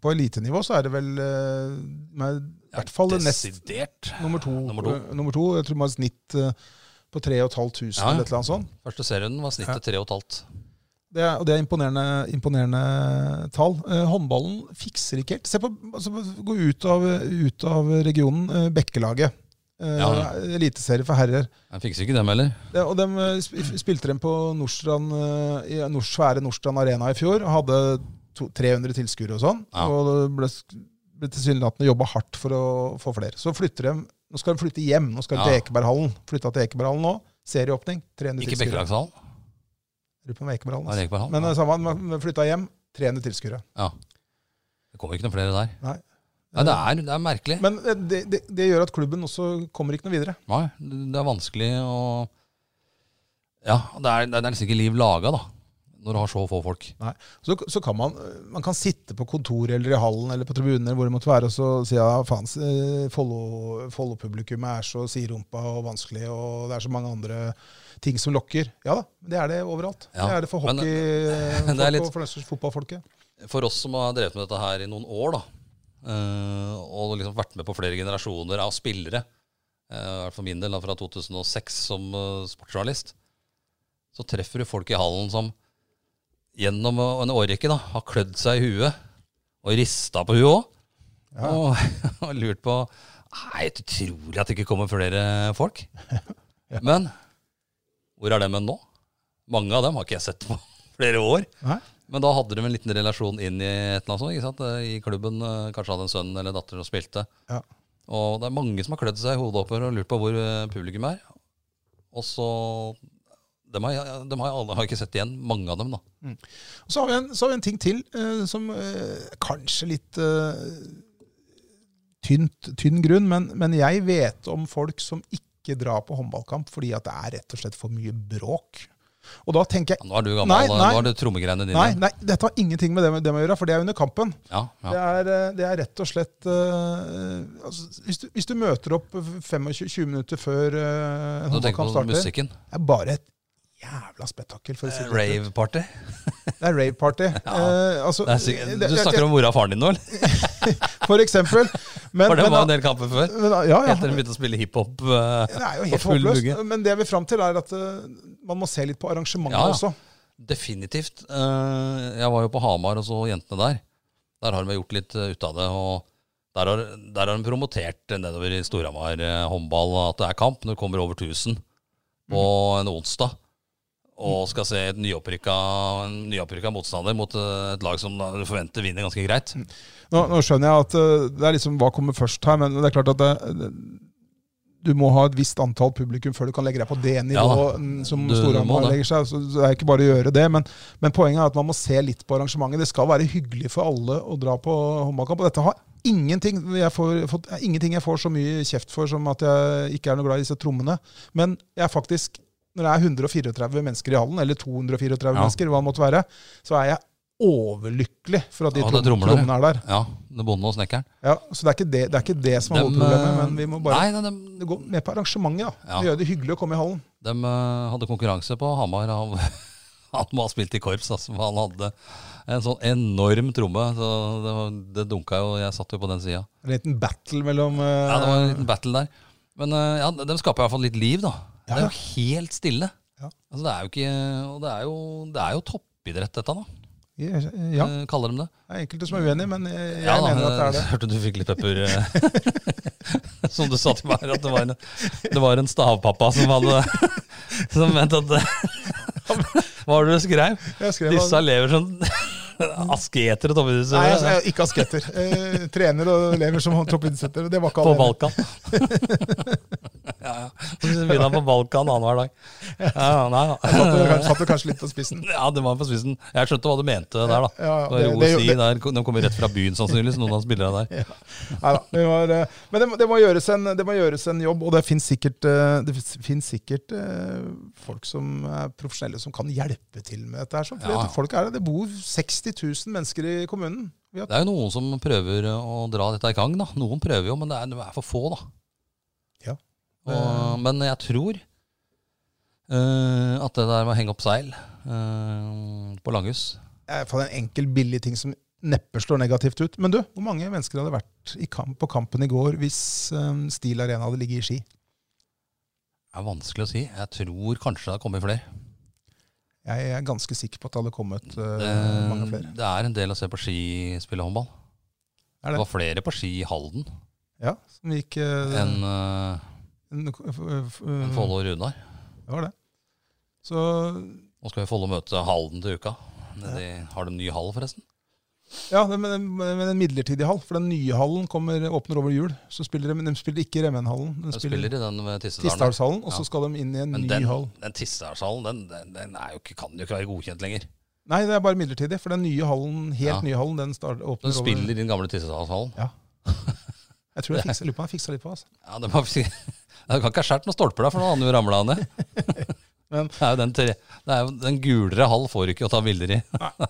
S2: På elitenivå så er det vel eh, med, i hvert fall nest
S1: Desidert.
S2: nummer to.
S1: Nummer to.
S2: Eh, Nummer to. Jeg tror man har snitt eh, på 3500
S1: Ja, ja.
S2: eller et eller annet sånt.
S1: Første serierunden var snittet tre og et halvt.
S2: Det er, og det er imponerende, imponerende tall. Eh, håndballen fikser ikke helt. Se på, altså, Gå ut av, ut av regionen. Eh, Bekkelaget. Eh,
S1: Ja.
S2: Eliteserie for herrer.
S1: Jeg fikser ikke dem heller.
S2: Ja, og De spilte dem på Nordstrand, eh, i Nord- svære Nordstrand Arena i fjor. og Hadde to, 300 tilskuere og sånn.
S1: Ja.
S2: Og det ble, sk- ble tilsynelatende jobba hardt for å få flere. Så flytter de, Nå skal de flytte hjem. Nå skal de til
S1: Ja.
S2: Ekeberghallen. Flytta til Ekeberghallen nå. Serieåpning. 300
S1: Ikke
S2: tilskuere.
S1: Bekkelagshallen.
S2: Lurer på om det er Ekeberghallen,
S1: Nei, det
S2: altså.
S1: er ikke
S2: Men
S1: Bekkelagshallen.
S2: eh, samme, man- man flytta hjem. 300 tilskuere.
S1: Det kommer ikke noen flere der.
S2: Nei.
S1: Nei, det er, det er merkelig.
S2: Men eh, det, det, det gjør at klubben også kommer ikke noe videre.
S1: Nei, det er vanskelig å Ja, det er, det er nesten ikke liv laga, da. Når du har så få folk.
S2: Så, så kan man, eh, man kan sitte på kontoret eller i hallen eller på tribunen eller hvor det måtte være, og så si ja, faen, eh, Follo- Follo-publikummet er så siderumpa og vanskelig, og det er så mange andre ting som lokker. Ja da, det er det overalt.
S1: Ja,
S2: Det er det for
S1: men- eh,
S2: hockeyfolk
S1: det er litt-
S2: og for den slags fotballfolket.
S1: For oss som har drevet med dette her i noen år, da, eh, og liksom vært med på flere generasjoner av spillere, eh, i hvert fall min del, da, fra 2006 som eh, sportsjournalist, så treffer du folk i hallen som gjennom eh, en årrekke da, har klødd seg i huet, og rista på huet òg,
S2: Ja.
S1: og, og lurt på Nei, det er utrolig at det ikke kommer flere folk. Men hvor er dem hen nå? Mange av dem har ikke jeg sett på flere år.
S2: Nei?
S1: Men da hadde de en liten relasjon inn i et eller annet sånt, ikke sant? i klubben. eh, Kanskje hadde en sønn eller datter som spilte.
S2: Ja.
S1: Og det er mange som har klødd seg i hodet oppover og lurt på hvor eh, publikum er. Og så Dem har jeg, dem har jeg alle har jeg ikke sett igjen, mange av dem, da.
S2: Og så har vi en, så har vi en ting til eh, som eh, kanskje litt eh, tynt, tynn grunn, men, men jeg vet om folk som ikke drar på håndballkamp fordi at det er rett og slett for mye bråk. Og da tenker jeg
S1: Ja, Nå er du gammel, eh,
S2: Nei, nei.
S1: nå er det trommegreiene dine.
S2: Nei, nei, dette har ingenting med det, med det med å gjøre, for det er under kampen.
S1: Ja, ja.
S2: Det, er, eh, det er rett og slett eh, altså, hvis, du, hvis du møter opp 25-20 minutter før eh, en
S1: Du tenker
S2: håndballkamp
S1: på
S2: starter,
S1: musikken.
S2: det er bare et jævla spetakkel. For å si det. rett ut.
S1: Rave-party.
S2: Det er rave-party.
S1: Eh, Ja.
S2: Eh, altså,
S1: Det er sikkert-
S2: det-
S1: Du
S2: det-
S1: snakker om mora og faren din nå, eller?
S2: For eksempel. Men,
S1: For det
S2: men,
S1: var en del kamper før.
S2: men, ja, ja.
S1: Etter de begynte å spille hiphop. eh,
S2: Det er jo
S1: Og
S2: helt
S1: full
S2: håpløst.
S1: bugge.
S2: Men det vi er fram til, er at eh, man må se litt på arrangementet
S1: Ja, ja.
S2: også.
S1: Definitivt. Eh, Jeg var jo på Hamar og så jentene der. Der har de gjort litt eh, ut av det. og Der har, der har de promotert nedover i Storhamar eh, håndball at det er kamp når det kommer over 1000 på
S2: Mhm.
S1: en onsdag. Og skal se et nyopprykka, en nyopprykka motstander mot eh, et lag som da du forventer vinner ganske greit.
S2: Mm. Nå, nå skjønner jeg at eh, det er liksom hva kommer først her, men det er klart at det, det, du må ha et visst antall publikum før du kan legge deg på det nivået mm, som
S1: du- du må
S2: Storhamar
S1: det.
S2: legger seg. Så så det er ikke bare å gjøre det, men, men poenget er at man må se litt på arrangementet. Det skal være hyggelig for alle å dra på håndballkamp. Og dette har ingenting jeg får, fått, ingenting jeg får så mye kjeft for som at jeg ikke er noe glad i disse trommene. Men jeg er faktisk når det er 134 mennesker i hallen, eller 234
S1: Ja.
S2: mennesker, hva det måtte være, så er jeg overlykkelig for at de
S1: Ja, det
S2: trom-
S1: er trommer der.
S2: trommene er der.
S1: Ja, det bonden og snekkeren.
S2: Ja, Så det er ikke det, det, er ikke det som er
S1: Dem,
S2: hovedproblemet,
S1: eh,
S2: men vi må bare
S1: Nei, nei dem,
S2: gå med på arrangementet. da.
S1: Ja.
S2: Det gjør det hyggelig å komme i hallen.
S1: dem, eh, hadde konkurranse på Hamar. Av, han må ha spilt i korps, altså. for Han hadde en sånn enorm tromme. Så det, var, det dunka jo. Jeg satt jo på den sida.
S2: En liten battle mellom eh,
S1: Ja, det var en liten battle der. Men eh, ja, de skaper i hvert fall litt liv, da.
S2: Ja,
S1: Det er jo helt stille.
S2: Ja.
S1: Altså, det er jo ikke Og det er jo, det er jo toppidrett, dette, da.
S2: Ja,
S1: Eh, Kaller de det.
S2: det er enkelte som er uenige, men eh, jeg, jeg
S1: Ja, da, eh,
S2: mener at det er det.
S1: Hørte du fikk litt pepper eh, Som du sa til meg, at det var en, det var en stavpappa som hadde Som mente at det- Hva var det du skrev?
S2: Jeg skrev
S1: Disse
S2: at-
S1: lever som asketer og toppidrettsutøvere
S2: Nei, altså, jeg, jeg, ikke asketter. Eh, trener og lever som toppidrettsutøver. Det var ikke
S1: på
S2: alle.
S1: Balkan. ja, ja. Så begynner han på Balkan annenhver dag. Ja, ja, nei,
S2: Jeg
S1: ja.
S2: satte det kanskje- satte det kanskje litt på spissen.
S1: ja, det var på spissen. Jeg skjønte hva du mente der, da.
S2: Ja, ja,
S1: det,
S2: det-
S1: var
S2: det-
S1: OSI,
S2: det-
S1: der, De kommer rett fra byen, sannsynligvis, noen av spillerne der.
S2: Neida, det var, eh, men det må, det, må gjøres en, det må gjøres en jobb, og det finnes sikkert, eh, det finnes sikkert eh, folk som er profesjonelle som kan hjelpe til med dette. her. sånn. For
S1: Ja.
S2: det- folk er det. det bor 60 000 mennesker i kommunen. Vi har,
S1: Det er jo noen som prøver å dra dette i gang, da. Noen prøver jo, men det er, det er for få, da.
S2: Ja.
S1: Og, men jeg tror eh, at det der med å henge opp seil eh, på Langhus
S2: er faen en enkel, billig ting som neppe slår negativt ut. Men du, hvor mange mennesker hadde vært i kamp, på kampen i går hvis um, Stil Arena hadde ligget i Ski?
S1: Det er vanskelig å si. Jeg tror kanskje det har kommet flere.
S2: Jeg er ganske sikker på at det hadde kommet uh,
S1: Eh,
S2: mange flere.
S1: Det er en del å se på ski spille håndball.
S2: Er
S1: Det
S2: det?
S1: var flere på ski i Halden
S2: Ja, som gikk uh,
S1: enn eh,
S2: en, f- f-
S1: enn Follo og Runar.
S2: Det var det. Så
S1: Nå skal jo Follo møte Halden til uka. De, har de ny hall, forresten?
S2: Ja, det- men, men en midlertidig hall. For den nye hallen kommer, åpner over jul. Så spiller de, de spiller ikke Remmenhallen. De
S1: De
S2: spiller,
S1: spiller i den ved Tistedalen.
S2: Tistdalshallen, og
S1: Ja.
S2: så skal de inn i en
S1: Men
S2: ny
S1: den,
S2: hall.
S1: den Tistedalshallen den, den, den er jo ikke, kan jo ikke være godkjent lenger.
S2: Nei, det er bare midlertidig. For den nye hallen, helt
S1: Ja.
S2: nye hallen, den start, åpner
S1: Den spiller i den gamle Tistedalshallen.
S2: over Jeg tror jeg fiksa, lurer på om jeg fiksa litt på altså.
S1: Ja, det var, det kan ikke ha skåret noen stolper der, for noen andre ramla ned.
S2: Men-
S1: det er jo den, tre, det er jo den gulere hall får du ikke å ta bilder i.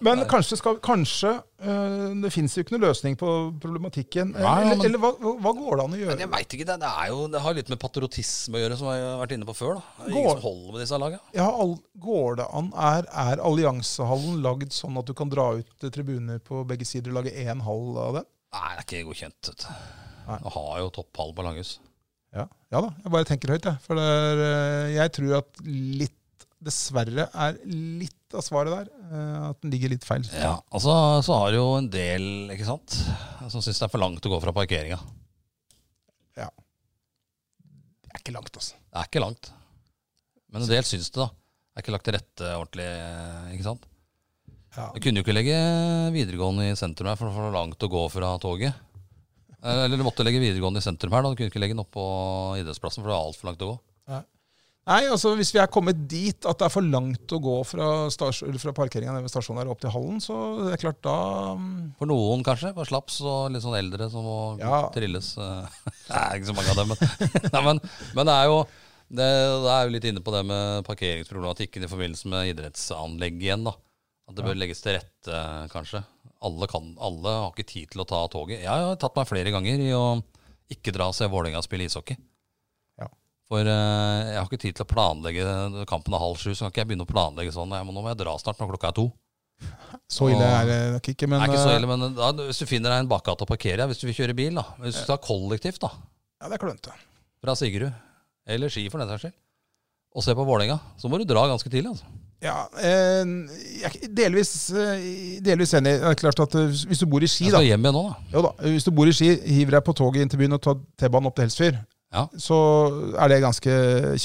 S2: Men kanskje, skal, kanskje øh, Det fins jo ikke noen løsning på problematikken.
S1: Nei, ja,
S2: eller
S1: men-
S2: eller hva, hva- hva går det an å gjøre?
S1: Men jeg veit ikke, det, det, er jo, det har litt med patriotisme å gjøre, som jeg har vært inne på før. da. Det er
S2: Går-
S1: Ingen som holder med disse lagene.
S2: Jeg har all, går det an, er, er alliansehallen lagd sånn at du kan dra ut eh, tribuner på begge sider og lage én hall av den?
S1: Nei, det er ikke godkjent. vet du.
S2: Nei.
S1: Du har jo topphall på Langhus.
S2: Ja. ja da, jeg bare tenker høyt, jeg. For det er, eh, jeg tror at litt, dessverre, er litt av svaret der eh, at den ligger litt feil.
S1: Ja, altså så har du jo en del, ikke sant, som syns det er for langt å gå fra parkeringa.
S2: Det er ikke langt, altså.
S1: Det er ikke langt. Men en del syns det, da. Det er ikke lagt til rette ordentlig, ikke sant.
S2: Ja.
S1: Du kunne jo ikke legge videregående i sentrum her, for det var for langt å gå fra toget. Eller du måtte legge videregående i sentrum her, da. Du kunne ikke legge den oppå idrettsplassen, for det var altfor langt å gå.
S2: Nei, altså Hvis vi er kommet dit at det er for langt å gå fra, stas- eller fra parkeringa nede ved stasjonen her opp til hallen, så det er klart da mm,
S1: For noen kanskje, bare slaps og litt sånn eldre som må
S2: Ja.
S1: trilles. eh. Det er ikke så mange av dem, men, nei, men, men det er jo det, det er jo litt inne på det med parkeringsproblematikken i forbindelse med idrettsanlegg igjen. da. At det bør legges til rette, eh, kanskje. Alle, kan, alle har ikke tid til å ta toget. Jeg har tatt meg flere ganger i å ikke dra og se Vålerenga spille ishockey.
S2: Ja.
S1: For eh, jeg har ikke tid til å planlegge kampen er halv sju, så kan ikke jeg begynne å planlegge sånn. Jeg må, nå må jeg dra snart når klokka er to.
S2: Så ille er det nok ikke. Men,
S1: Det er ikke så
S2: eh,
S1: ille, men da, hvis du finner deg en bakgate å parkere i, hvis du vil kjøre bil, da. Hvis du tar kollektivt, da,
S2: Ja, det er klønete.
S1: fra Sigerud, eller Ski for den saks skyld, og se på Vålerenga, så må du dra ganske tidlig, altså.
S2: Ja, eh, jeg er delvis, eh, delvis enig. Det er klart at eh, hvis du bor i Ski,
S1: Jeg
S2: da,
S1: skal hjem igjen nå, da.
S2: jo da Hvis du bor i Ski, hiver deg på toget inn til byen og tar T-banen opp til Helsfyr,
S1: Ja.
S2: så er det ganske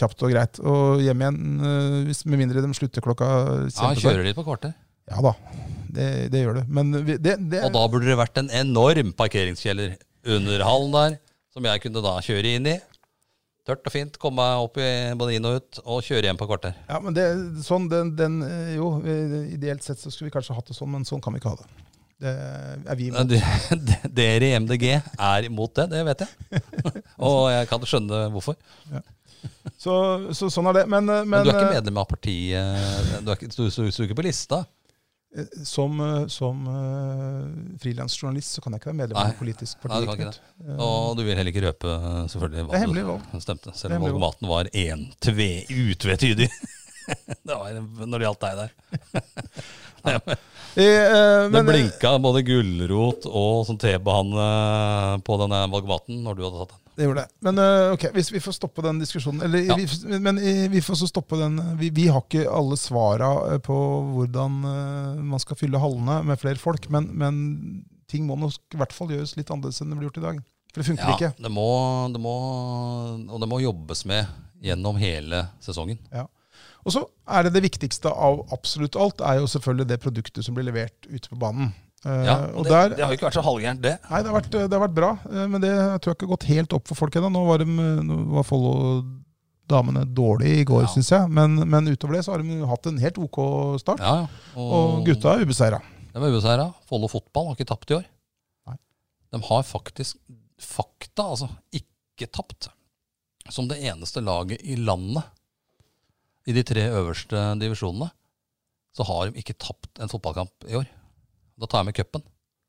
S2: kjapt og greit. Og hjem igjen, eh, hvis, med mindre de slutter klokka
S1: Ja,
S2: kjempefør.
S1: kjører dit på kvarter.
S2: Ja da, det, det gjør du. Men vi- det, det
S1: Og da burde det vært en enorm parkeringskjeller under hallen der, som jeg kunne da kjøre inn i. Tørt og fint, komme meg opp i både inn og ut, og kjøre hjem på kvarter.
S2: Ja, men det, sånn, den, den eh, Jo, eh, ideelt sett så skulle vi kanskje hatt det sånn, men sånn kan vi ikke ha det. Det er vi
S1: Men
S2: imot.
S1: de- Dere i MDG er imot det, det vet jeg. Og jeg kan skjønne hvorfor.
S2: Så, så sånn er det. Men, eh,
S1: Men,
S2: men,
S1: du er ikke
S2: eh,
S1: medlem av partiet? eh, Du, er ikke, du, du, du er ikke på lista?
S2: eh, Som, eh, som eh, frilansjournalist så kan jeg ikke være medlem av
S1: Nei.
S2: et politisk
S1: Nei,
S2: parti.
S1: du kan ikke
S2: Knut.
S1: Og du vil heller ikke røpe eh, selvfølgelig
S2: Det er
S1: hva
S2: hemmelig valg.
S1: du stemte,
S2: Det er
S1: selv om
S2: hemmelig
S1: valgomaten var en tve, utvetydig. det var en- når det gjaldt deg der.
S2: Eh, eh,
S1: Det
S2: men, eh,
S1: blinka både gulrot og sånn tebehanne på denne valgomaten når du hadde tatt den.
S2: Det gjorde det. Men eh, ok, hvis vi får stoppe den diskusjonen eller,
S1: Ja.
S2: vi, Men eh, vi får så stoppe den Vi, vi har ikke alle svara eh, på hvordan eh, man skal fylle hallene med flere folk, men, men ting må nok i hvert fall gjøres litt annerledes enn det blir gjort i dag. For det funker ikke.
S1: det må, det må, og det må jobbes med gjennom hele sesongen.
S2: Og så er det det viktigste av absolutt alt, er jo selvfølgelig det produktet som blir levert ute på banen. Eh,
S1: Ja,
S2: og
S1: det,
S2: der,
S1: det har jo ikke vært så halvgærent, det.
S2: Nei, det har, vært, det har vært bra, eh, men det tror jeg ikke har gått helt opp for folk ennå. Nå var, de, nå var Follo-damene dårlige i går,
S1: Ja.
S2: syns jeg. Men, men utover det så har de hatt en helt OK start.
S1: Ja, ja.
S2: Og gutta er ubeseira.
S1: De er ubeseiret. Follo fotball har ikke tapt i år.
S2: Nei.
S1: De har faktisk, fakta altså, ikke tapt. Som det eneste laget i landet, i de tre øverste divisjonene, så har de ikke tapt en fotballkamp i år. Da tar jeg med cupen.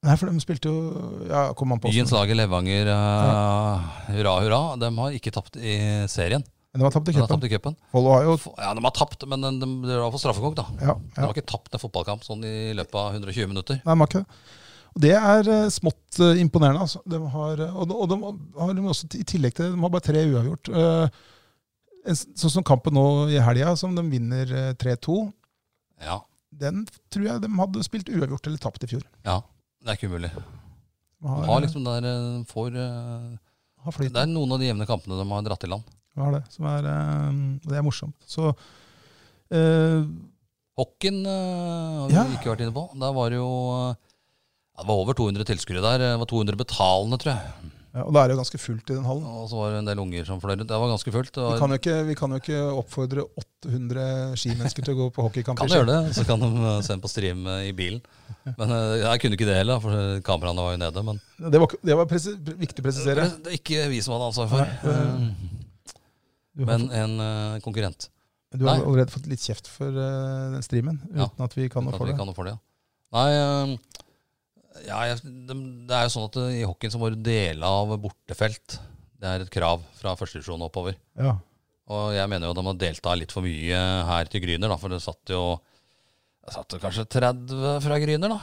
S2: Nei, for de spilte jo ja, kom an på
S1: Byens
S2: hvordan-
S1: lag i Levanger, eh, hurra, hurra, de har ikke tapt i serien.
S2: Men de har tapt i
S1: Men da
S2: cupen.
S1: tapte cupen.
S2: Follo har jo
S1: Ja, de har tapt, men de, de, de var for straffekonk, da.
S2: ja,
S1: De
S2: ja.
S1: har ikke tapt en fotballkamp sånn i løpet av 120 minutter.
S2: Nei, de har ikke det. Og det er eh, smått eh, imponerende. Altså. De har, eh, og de, og de har de også, i tillegg til det, de har bare tre uavgjort. Eh, en s- sånn som kampen nå i helga, som de vinner eh, 3-2,
S1: Ja,
S2: den tror jeg de hadde spilt uavgjort eller tapt i fjor.
S1: ja. Det er ikke umulig.
S2: De
S1: De
S2: har,
S1: har liksom der, eh, får, eh,
S2: har flyt.
S1: det er noen av de jevne kampene de har dratt i land.
S2: De har det, som er, eh, og det er morsomt. Så eh,
S1: Hockeyen eh, har vi
S2: Ja.
S1: ikke vært inne på. Der var det jo eh, ja, Det var over 200 tilskuere der. Det var 200 betalende, tror jeg.
S2: ja, Og da er det jo ganske fullt i den hallen.
S1: Og så var det en del unger som fløy rundt. Det var ganske fullt. Det
S2: Vi
S1: var,
S2: kan, jo ikke, vi kan jo ikke oppfordre 800 skimennesker til å gå på hockeykamp. i
S1: kan
S2: Ski.
S1: de gjøre det, så kan de eh, se den på stream eh, i bilen. Men eh, jeg kunne ikke det heller, for eh, kameraene var jo nede. Men
S2: Det var, det var presi viktig å
S1: det
S2: presisere.
S1: er ikke vi som hadde ansvar for.
S2: Nei, Du har,
S1: Men en eh, konkurrent.
S2: du har
S1: nei.
S2: allerede fått litt kjeft for eh, den streamen, uten
S1: Ja,
S2: at vi kan
S1: Uten
S2: noe
S1: at
S2: for
S1: vi
S2: det.
S1: kan noe for det, ja. Nei, eh, ja, jeg, de, det er jo sånn at eh, i hockeyen så må du dele av bortefelt. Det er et krav fra førstedivisjon oppover.
S2: Ja.
S1: Og jeg mener jo de har delta litt for mye her til Gryner, da, for det satt jo det satt jo kanskje 30 fra Gryner da,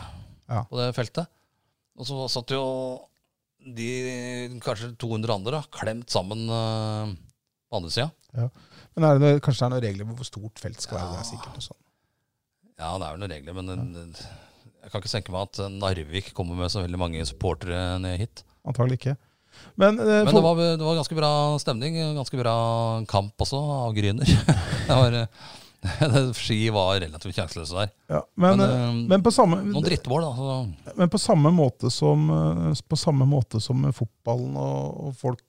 S2: Ja.
S1: på det feltet. Og så satt jo de kanskje 200 andre da, klemt sammen eh, på andre sida.
S2: Men er det, noe- kanskje det er noen regler på hvor stort felt skal være?
S1: Ja.
S2: Det er sikkert noe sånt.
S1: Ja, det er jo noen regler, men eh, jeg kan ikke tenke meg at eh, Narvik kommer med så veldig mange supportere ned hit.
S2: Antagelig ikke. Men, eh,
S1: Men
S2: for,
S1: det var, det var ganske bra stemning, ganske bra kamp også, av Gryner. det var, eh, ski var relativt sjanseløse der.
S2: ja, men,
S1: men,
S2: eh,
S1: eh,
S2: men, på samme,
S1: Noen drittmål, da. så...
S2: men på samme måte som, eh, på samme måte som med fotballen og, og folk,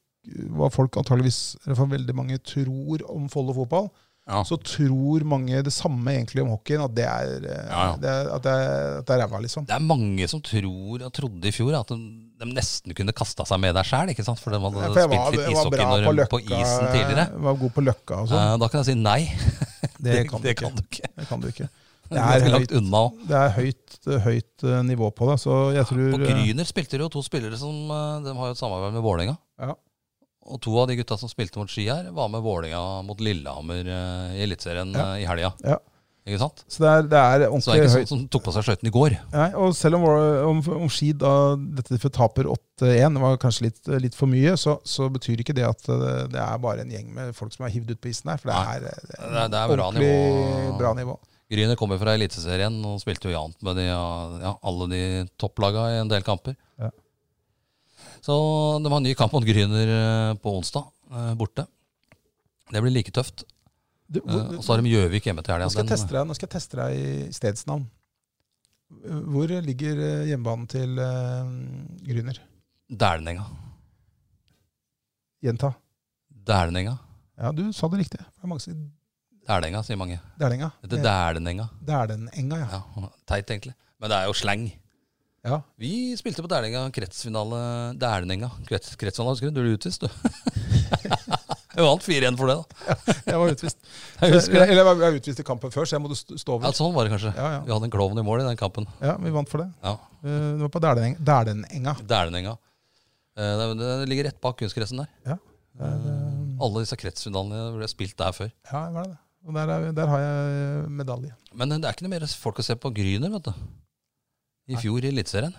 S2: hva folk antageligvis, eller for veldig mange, tror om Follo fotball,
S1: Ja.
S2: så tror mange det samme egentlig om hockeyen, at det er, eh,
S1: Ja, ja.
S2: Det er, at det er, at det er ræva, liksom.
S1: Det er mange som tror og trodde i fjor at de, de nesten kunne kasta seg med der sjæl, ikke sant? For de hadde
S2: For jeg var,
S1: spilt litt
S2: jeg var
S1: ishockey
S2: bra
S1: når
S2: på
S1: de
S2: løkka,
S1: på isen tidligere.
S2: jeg var god på løkka og sånn.
S1: Eh, da kan jeg si nei.
S2: Det kan du
S1: det
S2: ikke.
S1: kan du ikke.
S2: Det kan du ikke.
S1: Det
S2: Det
S1: er
S2: er
S1: ganske
S2: høyt,
S1: langt unna. også.
S2: det er høyt, høyt eh, nivå på det, så jeg
S1: På
S2: tror eh,
S1: Gryner spilte det jo to spillere som eh, De har jo et samarbeid med Vålerenga.
S2: Ja.
S1: Og to av de gutta som spilte mot Ski her, var med Vålerenga mot Lillehammer eh, i Eliteserien
S2: Ja.
S1: eh, i helga.
S2: Ja.
S1: Ikke sant?
S2: Så det er, det
S1: Så
S2: er
S1: det er
S2: ordentlig
S1: ikke
S2: høyt.
S1: sånn som tok på seg skøytene i går.
S2: Nei, og selv om, vår- om, om Ski da dette for taper 8-1 var kanskje litt, litt for mye, så, så betyr ikke det at eh, det er bare en gjeng med folk som er hivd ut på isen her. For det
S1: Nei.
S2: er,
S1: Det
S2: eh,
S1: er, det er bra
S2: ordentlig
S1: nivå.
S2: bra nivå.
S1: Gryner kommer fra Eliteserien og spilte jo jant med de, ja, alle de topplaga i en del kamper.
S2: Ja.
S1: Så de har en ny kamp mot Gryner eh, på onsdag, eh, borte. Det blir like tøft.
S2: Du,
S1: Eh,
S2: hvor-
S1: Og så har de Gjøvik hjemme til
S2: nå, skal jeg
S1: helga.
S2: teste deg, nå skal jeg teste deg i stedsnavn. Hvor ligger eh, hjemmebanen til uh, Grüner?
S1: Dælenenga.
S2: Gjenta.
S1: Dælenenga.
S2: Ja, du sa det riktig. Det er mange som sier
S1: Dælenenga, sier mange.
S2: Dælenga.
S1: Det er Dælenenga.
S2: Dælenenga, ja.
S1: Ja, teit, egentlig. Men det er jo slang.
S2: ja.
S1: Vi spilte på Dælenenga kretsfinale. Dælenenga. Krets, kretsfinale, husker du? Du ble utvist, du. Vi vant 4-1 for det, da.
S2: Jeg var utvist.
S1: Jeg husker det.
S2: Eller jeg var- jeg var utvist i kampen før, så jeg måtte st- stå
S1: Ja,
S2: over.
S1: sånn var det kanskje.
S2: Ja, ja.
S1: Vi hadde en klovn i mål i den kampen.
S2: ja, vi vant for det.
S1: Ja.
S2: Eh, Det var på Dæleneng- Dælenenga.
S1: Dælenenga. Eh, Det, det ligger rett bak kunstgressen der.
S2: Det er, eh,
S1: Alle disse kretsfinalene ble spilt der før.
S2: Ja, hva er det? Og der, er, der har jeg eh, medalje.
S1: Men det er ikke noe mer folk å se på Gryner, vet du. I
S2: Nei.
S1: fjor i Eliteserien.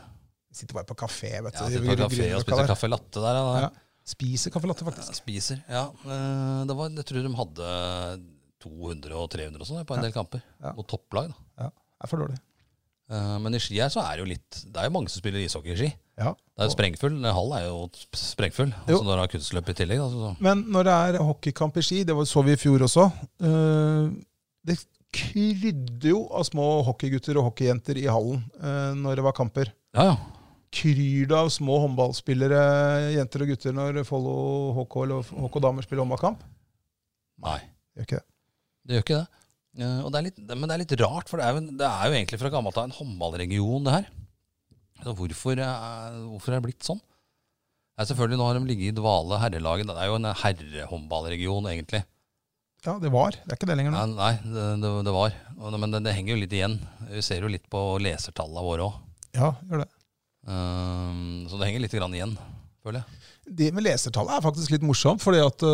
S2: Jeg sitter bare på kafé, vet du.
S1: Ja,
S2: i
S1: sitter på kafé og
S2: Grünerløkka
S1: spiser
S2: der.
S1: kaffe latte der. Ja.
S2: Ja. Spiser kaffe latte,
S1: Ja,
S2: faktisk.
S1: Spiser. Ja. Eh, Det var, jeg tror de hadde 200 og 300 og sånn på en del kamper.
S2: Ja.
S1: Mot topplag, da.
S2: Det er for dårlig.
S1: Eh, Men i ski her så er det jo litt Det er jo mange som spiller ishockey i ski.
S2: Ja.
S1: Det er jo sprengfull. Den hallen er jo sp- sprengfull. Og
S2: Jo.
S1: så når du har kunstløp i tillegg, da, så så-
S2: Men når det er hockeykamp i ski, det var- så vi i fjor også eh, Det krydde jo av små hockeygutter og hockeyjenter i hallen eh, når det var kamper.
S1: Ja, ja.
S2: Kryr det av små håndballspillere, jenter og gutter, når Follo HK eller HK damer spiller håndballkamp?
S1: Nei.
S2: Gjør ikke det.
S1: Det gjør ikke det. Eh, og det er litt, det, men det er litt rart, for det er jo, det er jo egentlig fra gammelt av en håndballregion, det her. Så hvorfor, er, hvorfor er det blitt sånn? Nei, selvfølgelig, nå har de ligget i dvale, herrelaget. Det er jo en herrehåndballregion, egentlig.
S2: Ja, det var. Det er ikke det lenger nå.
S1: Nei, nei det, det, det var. Og det- Men det, det henger jo litt igjen. Vi ser jo litt på lesertallene våre Ehm, òg.
S2: Ja, gjør det.
S1: så det henger litt grann igjen, føler jeg.
S2: Det med lesertallet er faktisk litt morsomt, fordi at
S1: Det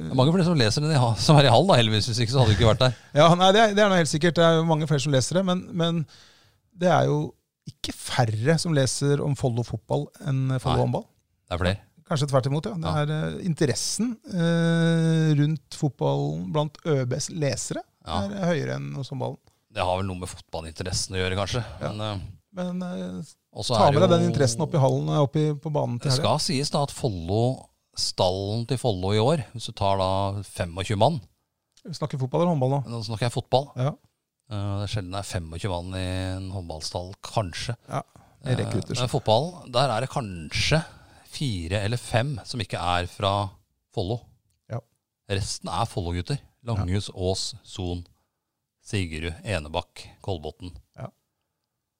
S2: øh,
S1: er mange flere som leser enn de har- som er i hall, da, heldigvis. Hvis ikke så hadde du ikke vært der.
S2: Ja, nei, det er, det er noe helt sikkert. Det er jo mange flere som leser det, men, men det er jo ikke færre som leser om Follo fotball enn Follo
S1: Nei.
S2: håndball.
S1: Det er flere.
S2: Kanskje tvert imot, ja. Det
S1: Ja.
S2: er eh, interessen eh, rundt fotballen blant ØBs lesere
S1: Ja.
S2: er høyere enn hos håndballen.
S1: Det har vel noe med fotballinteressen å gjøre, kanskje.
S2: Ja.
S1: Men eh,
S2: Men eh,
S1: også
S2: ta
S1: er
S2: med deg
S1: det jo-
S2: den interessen opp i hallen, eh, opp i, på banen
S1: Det
S2: til helga.
S1: skal sies da at Follo, stallen til Follo i år, hvis du tar da 25 mann
S2: Vi snakker fotball eller håndball nå?
S1: Nå snakker jeg fotball.
S2: Ja.
S1: Eh, Det er sjelden det er 25 mann i en håndballstall, kanskje.
S2: Ja, jeg rekker ut til
S1: Eh, Men fotball, der er det kanskje fire eller fem som ikke er fra Follo.
S2: Ja.
S1: Resten er Follo-gutter. Langhus, Ås, Son, Sigerud, Enebakk, Kolbotn.
S2: Ja.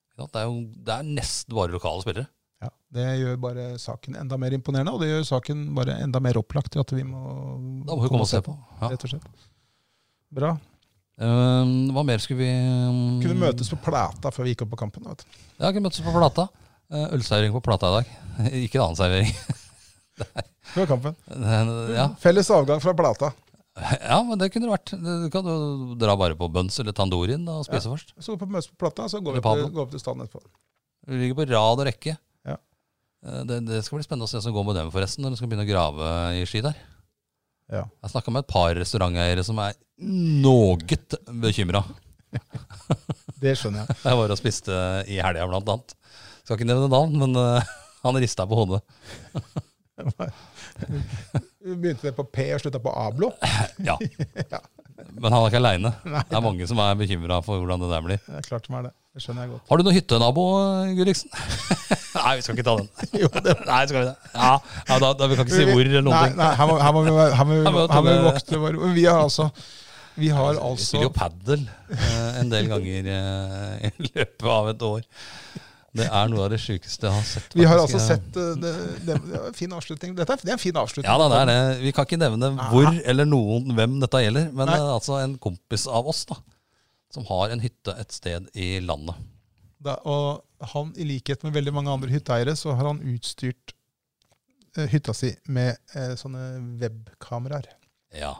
S1: Ikke sant? Det er jo det er nesten bare lokale spillere.
S2: Ja, Det gjør bare saken enda mer imponerende, og det gjør saken bare enda mer opplagt til at vi må
S1: Da må vi komme og se på. Ja.
S2: Rett og slett. Bra.
S1: Eh, hva mer skulle vi um,
S2: Kunne møtes på Plata før vi gikk opp på kampen. Vet du.
S1: Ja, kunne møtes på Plata. Eh, Ølservering på Plata i dag. ikke en annen servering.
S2: Før kampen.
S1: ja.
S2: Felles avgang fra Plata.
S1: ja, men det kunne det vært. Du kan jo dra bare på Buns eller Tandorin da, og spise først.
S2: Så på møtes på Plata, så går
S1: Eller
S2: vi opp,
S1: Pablo.
S2: til- går opp til staden etterpå.
S1: Vi ligger på rad og rekke.
S2: Ja.
S1: Eh, Det, det skal bli spennende å se hva som går med dem forresten når de skal begynne å grave i ski der.
S2: Ja.
S1: Jeg snakka med et par restauranteiere som er noe bekymra.
S2: Det skjønner jeg.
S1: Jeg var og spiste i helga, blant annet. Skal ikke nevne navn, men eh, han rista på hodet.
S2: Vi begynte det på P og slutta på Ablo.
S1: Ja.
S2: Ja.
S1: Men han er ikke aleine.
S2: Nei.
S1: Det er mange som er bekymra for hvordan det der blir.
S2: Det er klart som er det. Det skjønner jeg godt.
S1: Har du noen hyttenabo, Gulliksen? Nei, vi skal ikke ta den. Nei, skal vi det? Ja, ja da, da, Vi kan ikke si hvor eller noen
S2: Nei,
S1: ting.
S2: nei, her må, her må vi, være- her må,
S1: Her må
S2: vi-
S1: vi
S2: her må
S1: ta
S2: vi vokte våre ord. Vi har altså Vi har
S1: Vi
S2: altså
S1: spiller jo padel eh, en del ganger eh, i løpet av et år. Det er noe av det sjukeste jeg har sett.
S2: Vi har
S1: faktisk.
S2: altså sett eh, det, det, det var en Fin avslutning. Dette er, det er en fin avslutning.
S1: Ja da, det er det. Vi kan ikke nevne hvor eller noen hvem dette gjelder, men
S2: Nei.
S1: eh, altså en kompis av oss da, som har en hytte et sted i landet.
S2: Da, og han, i likhet med veldig mange andre hytteeiere, så har han utstyrt eh, hytta si med eh, sånne webkameraer.
S1: Ja.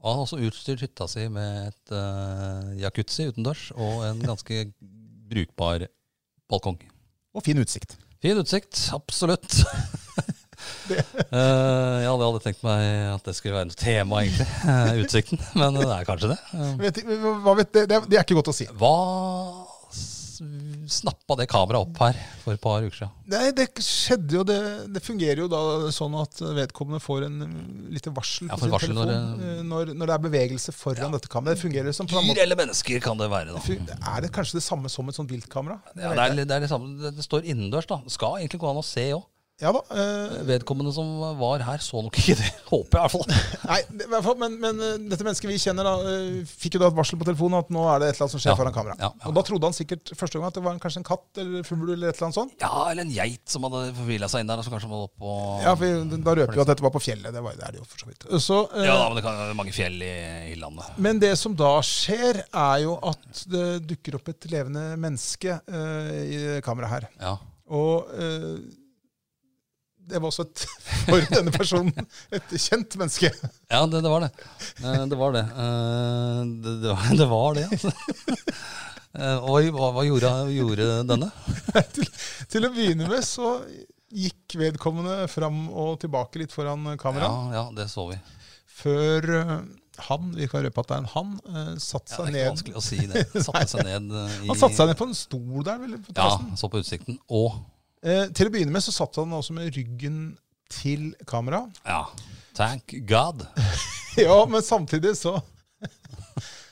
S1: Og han har også utstyrt hytta si med et eh, jacuzzi utendørs og en ganske brukbar balkong.
S2: Og fin utsikt.
S1: Fin utsikt, absolutt. Eh, jeg hadde aldri tenkt meg at det skulle være noe tema, egentlig. eh, utsikten. Men det er kanskje det. Eh,
S2: Vet, ikke- hva vet, det, det, er- det er ikke godt å si.
S1: hva s- snappa det kameraet opp her for et par uker siden?
S2: Nei, det skjedde jo, det, det fungerer jo da sånn at vedkommende får en mm, lite varsel
S1: Ja,
S2: på
S1: får
S2: sin
S1: varsel
S2: telefon
S1: når
S2: eh, når, når det er bevegelse foran dette kameraet. Det fungerer som på en
S1: Dyr
S2: måte.
S1: eller mennesker kan det være, da.
S2: Fun- Er det kanskje det samme som et sånt viltkamera?
S1: Ja, det, er, litt- det, er det, samme. det, det står innendørs, da. Det skal egentlig gå an å se òg.
S2: Ja da. eh,
S1: Vedkommende som var her, så nok ikke det. Håper jeg, i hvert fall.
S2: nei, det, i hvert fall, men, men eh, dette mennesket vi kjenner, da, eh, fikk jo da et varsel på telefonen at nå er det et eller annet som skjer
S1: Ja,
S2: foran kamera.
S1: ja, ja.
S2: Og da trodde han sikkert første gang at det var en, kanskje en katt eller fugl eller et eller annet sånt.
S1: Ja, eller en geit som hadde forvila seg inn der, og som kanskje må opp og
S2: Ja, for da røper vi at dette var på fjellet. Det, var, det er det jo for så vidt. Så, eh,
S1: Ja, da, men det kan være mange fjell i, i landet.
S2: Men det som da skjer, er jo at det dukker opp et levende menneske eh, i kameraet her.
S1: Ja.
S2: Og eh, det var også et, for denne personen et kjent menneske.
S1: Ja, det, det var det. Eh, Det var det. Eh, Det, det, var, det, var det altså. Eh, Og hva, hva gjorde, gjorde denne?
S2: Til å begynne med så gikk vedkommende fram og tilbake litt foran
S1: Ja,
S2: kameraet
S1: ja, det så vi.
S2: før eh, han, vi kan røpe at det er en han, eh, satte
S1: Ja, det er
S2: seg
S1: ikke
S2: ned.
S1: vanskelig å si det. Satte seg ned eh, i
S2: Han satte seg ned på en stol der. Vel, på
S1: Ja,
S2: terrassen.
S1: så på utsikten. Og
S2: Eh, til å begynne med så satt han også med ryggen til kameraet.
S1: ja, thank God.
S2: Ja, men samtidig så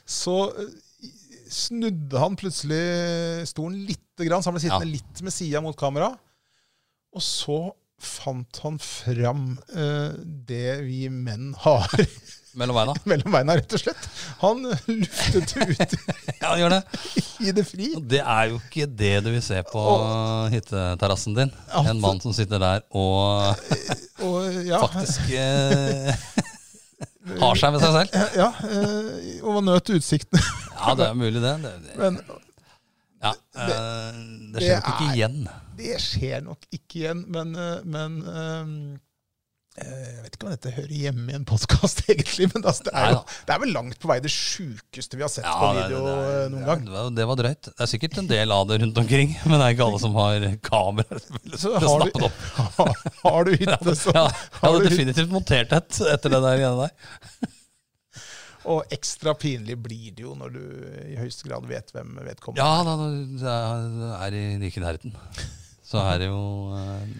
S2: Så eh, snudde han plutselig stolen lite grann, så han ble sittende
S1: Ja.
S2: litt med sida mot kamera. Og så fant han fram eh, det vi menn har
S1: Mellom beina.
S2: mellom beina, rett og slett. Han luftet det ut
S1: Ja, gjør det.
S2: i det fri.
S1: Og Det er jo ikke det du vil se på hytteterrassen din.
S2: Altså.
S1: En mann som sitter der og
S2: Og ja,
S1: faktisk eh, har seg med seg selv.
S2: ja eh, og nøt utsikten.
S1: Ja, det er mulig, det. det, det.
S2: Men
S1: Ja,
S2: Det-
S1: eh, det
S2: det
S1: skjer nok ikke
S2: er-
S1: igjen.
S2: Det skjer nok ikke igjen, men, eh, men eh, eh, Jeg vet ikke om dette hører hjemme i en podkast, egentlig, men altså, det, er jo,
S1: Neida.
S2: det er vel langt på vei det sjukeste vi har sett
S1: Ja,
S2: på
S1: det-
S2: video
S1: det-
S2: eh, noen gang.
S1: Det var, det var drøyt. Det er sikkert en del av det rundt omkring, men det er ikke alle som har kamera til
S2: Så
S1: å
S2: har
S1: snappe
S2: du,
S1: det opp.
S2: har, har du hytte, så
S1: Ja, jeg
S2: har
S1: hadde
S2: du hytte.
S1: definitivt montert et etter det der greiene der.
S2: Og ekstra pinlig blir det jo når du i høyeste grad vet hvem vedkommende
S1: Ja, da, da er i like nærheten. Så er det jo eh,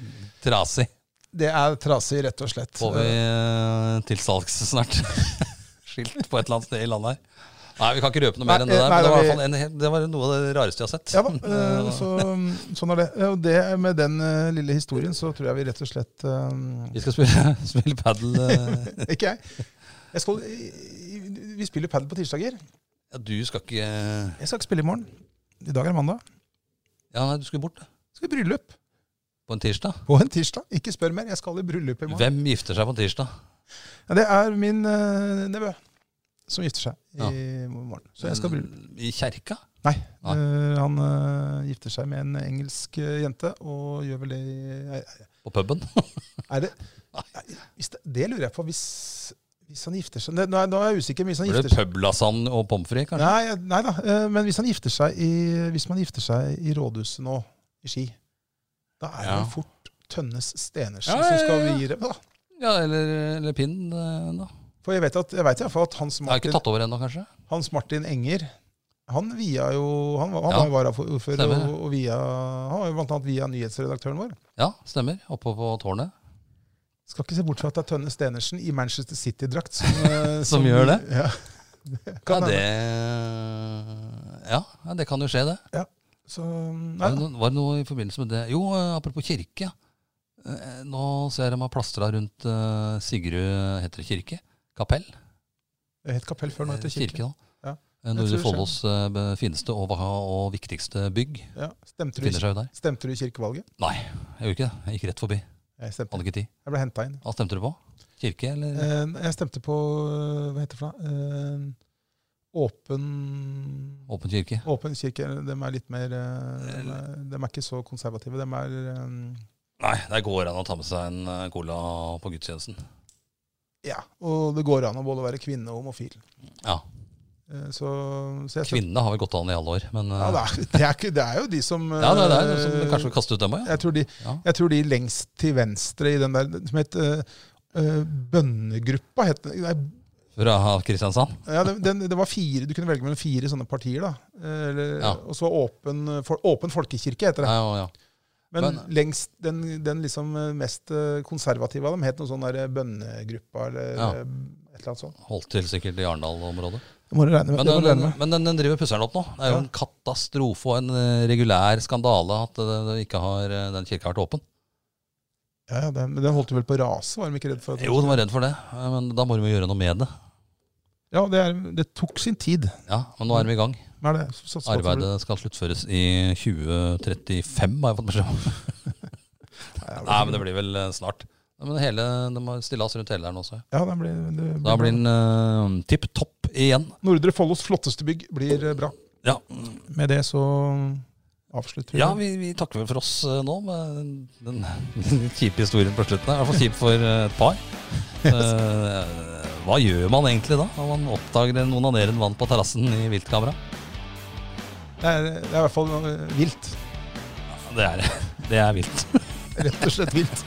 S1: trasig.
S2: Det er trasig, rett og slett.
S1: Får vi eh, til salgs snart? Skilt på et eller annet sted i landet her. Nei, vi kan ikke røpe noe mer enn det
S2: Nei,
S1: der. Men
S2: nei,
S1: det var, i
S2: vi-
S1: hvert fall en, hel- det var noe av det rareste jeg har sett.
S2: Ja da, eh, så, sånn er det. Og det, med den eh, lille historien så tror jeg vi rett og slett eh,
S1: Vi skal spille, spille padel. eh.
S2: Ikke jeg. jeg skal, vi spiller padel på tirsdager.
S1: Ja, du skal ikke Ja,
S2: Jeg skal ikke spille i morgen. I dag er det mandag.
S1: nei, du skulle bort da.
S2: Jeg skal i bryllup
S1: på en tirsdag.
S2: på en tirsdag. Ikke spør mer, jeg skal i bryllup i morgen.
S1: Hvem gifter seg på en tirsdag?
S2: Ja, det er min eh, nevø som gifter seg i morgen. Så jeg
S1: Mm,
S2: skal i bryllup.
S1: I kjerka?
S2: Nei.
S1: Nei.
S2: eh, han eh, gifter seg med en engelsk eh, jente, og gjør vel det i- er-
S1: På puben?
S2: Er det er- hvis det, det lurer jeg på. Hvis, hvis han gifter seg Nei, Nå er nå er jeg usikker, men hvis han
S1: Blir
S2: gifter
S1: det
S2: seg
S1: publasagne og pommes frites, kanskje?
S2: Nei, jeg- nei da. eh, Men hvis han gifter seg i, hvis man gifter seg i rådhuset nå, i Ski, da er
S1: Ja.
S2: det fort Tønnes Stenersen
S1: Ja, ja, ja,
S2: som skal
S1: ja.
S2: vie det. da.
S1: Ja, eller, eller pinn, eh, da.
S2: For jeg vet, at, jeg vet i hvert fall at Hans
S1: Jeg har ikke
S2: Martin,
S1: tatt over ennå, kanskje?
S2: Hans Martin Enger han via jo, han, var- han
S1: Ja.
S2: var jo varaordfører
S1: Stemmer.
S2: og, og via, han var jo blant annet via nyhetsredaktøren vår.
S1: Ja, stemmer. Oppe på tårnet.
S2: Skal ikke se bort fra at det er Tønne Stenersen i Manchester City-drakt som, eh,
S1: Som gjør det?
S2: Ja.
S1: Ja,
S2: Kan hende.
S1: det Ja, ja, det kan jo skje, det.
S2: Så, nei,
S1: Var det, noe, var det noe i forbindelse med det Jo, eh, apropos kirke. ja. Eh, Nå ser jeg de har plastra rundt eh, Sigrud heter det kirke? Kapell?
S2: det het kapell før nå heter kirke.
S1: kirke nå.
S2: Ja.
S1: Eh, Nordre
S2: Jeg tror det
S1: Follos eh, be- fineste og, va- og viktigste bygg
S2: Ja. Stemte, du,
S1: finner
S2: i-
S1: seg jo der.
S2: stemte du i kirkevalget?
S1: Jeg gjorde ikke det. Jeg gikk rett forbi.
S2: Jeg stemte,
S1: Hadde ikke tid.
S2: jeg ble henta inn.
S1: Hva stemte du på? Kirke, eller?
S2: Eh, Jeg stemte på eh, Hva heter det for noe? Eh, Åpen
S1: Åpen kirke?
S2: Åpen kirke. De er litt mer eh, De er, de er ikke så konservative. De er eh,
S1: Nei, der går det an å ta med seg en eh, cola på gudstjenesten.
S2: Ja. Og det går an å både være kvinne og homofil.
S1: Ja.
S2: Eh, Så, så jeg stemte,
S1: Kvinnene har vel gått an i alle år, men eh,
S2: ja, det, er, det, er, ikke- det er jo de som
S1: Ja, det er det
S2: eh,
S1: som kanskje vil kaste ut dem òg, ja.
S2: Jeg tror de
S1: ja.
S2: Jeg tror de lengst til venstre i den der som het eh, eh, Bønnegruppa. Het, den. nei,
S1: Fra Kristiansand.
S2: ja, den, den, det var fire, Du kunne velge mellom fire sånne partier. da. Eh, Eller,
S1: Ja.
S2: Og så Åpen, eh, for, åpen folkekirke, heter det.
S1: Ja, ja, ja.
S2: Men,
S1: men-
S2: lengst, den, den liksom eh, mest eh, konservative av dem het noe sånn der eh, Bønnegruppa eller
S1: Ja.
S2: eh, et eller annet sånt.
S1: Holdt til sikkert i Arendal-området.
S2: Det må du regne
S1: Men,
S2: med. Det må
S1: den-
S2: du regne med.
S1: men den, den driver pusseren opp nå. Det er jo
S2: Ja.
S1: en katastrofe og en eh, regulær skandale at eh, det ikke har, eh, den kirka har vært åpen.
S2: Ja, ja, den, men den holdt jo vel på å rase, var de ikke redd for? at-
S1: Jo, den var redd for det, eh, men da må de jo gjøre noe med det.
S2: Ja, det, er, det tok sin tid.
S1: Ja, Men nå er de i gang.
S2: Men er Mm. det, så, så, så,
S1: Arbeidet skal sluttføres i 2035, har jeg fått beskjed om. Nei, men det blir vel eh, snart. Nei, Men hele, De må stille oss rundt hele der nå også. ja.
S2: Ja, det blir, det blir,
S1: Da blir den eh, tipp topp igjen.
S2: Nordre Follos flotteste bygg blir eh, bra.
S1: Ja,
S2: Med det så avslutter vi.
S1: ja vi, vi takker vel for oss eh, nå med den litt kjipe historien på slutten. her. I hvert fall kjip for eh, et par. Eh, hva gjør man egentlig da når man oppdager en onanerende mann på terrassen i viltkamera?
S2: Det, er, det er i hvert fall eh, vilt.
S1: Det er, det er vilt.
S2: Rett og slett vilt.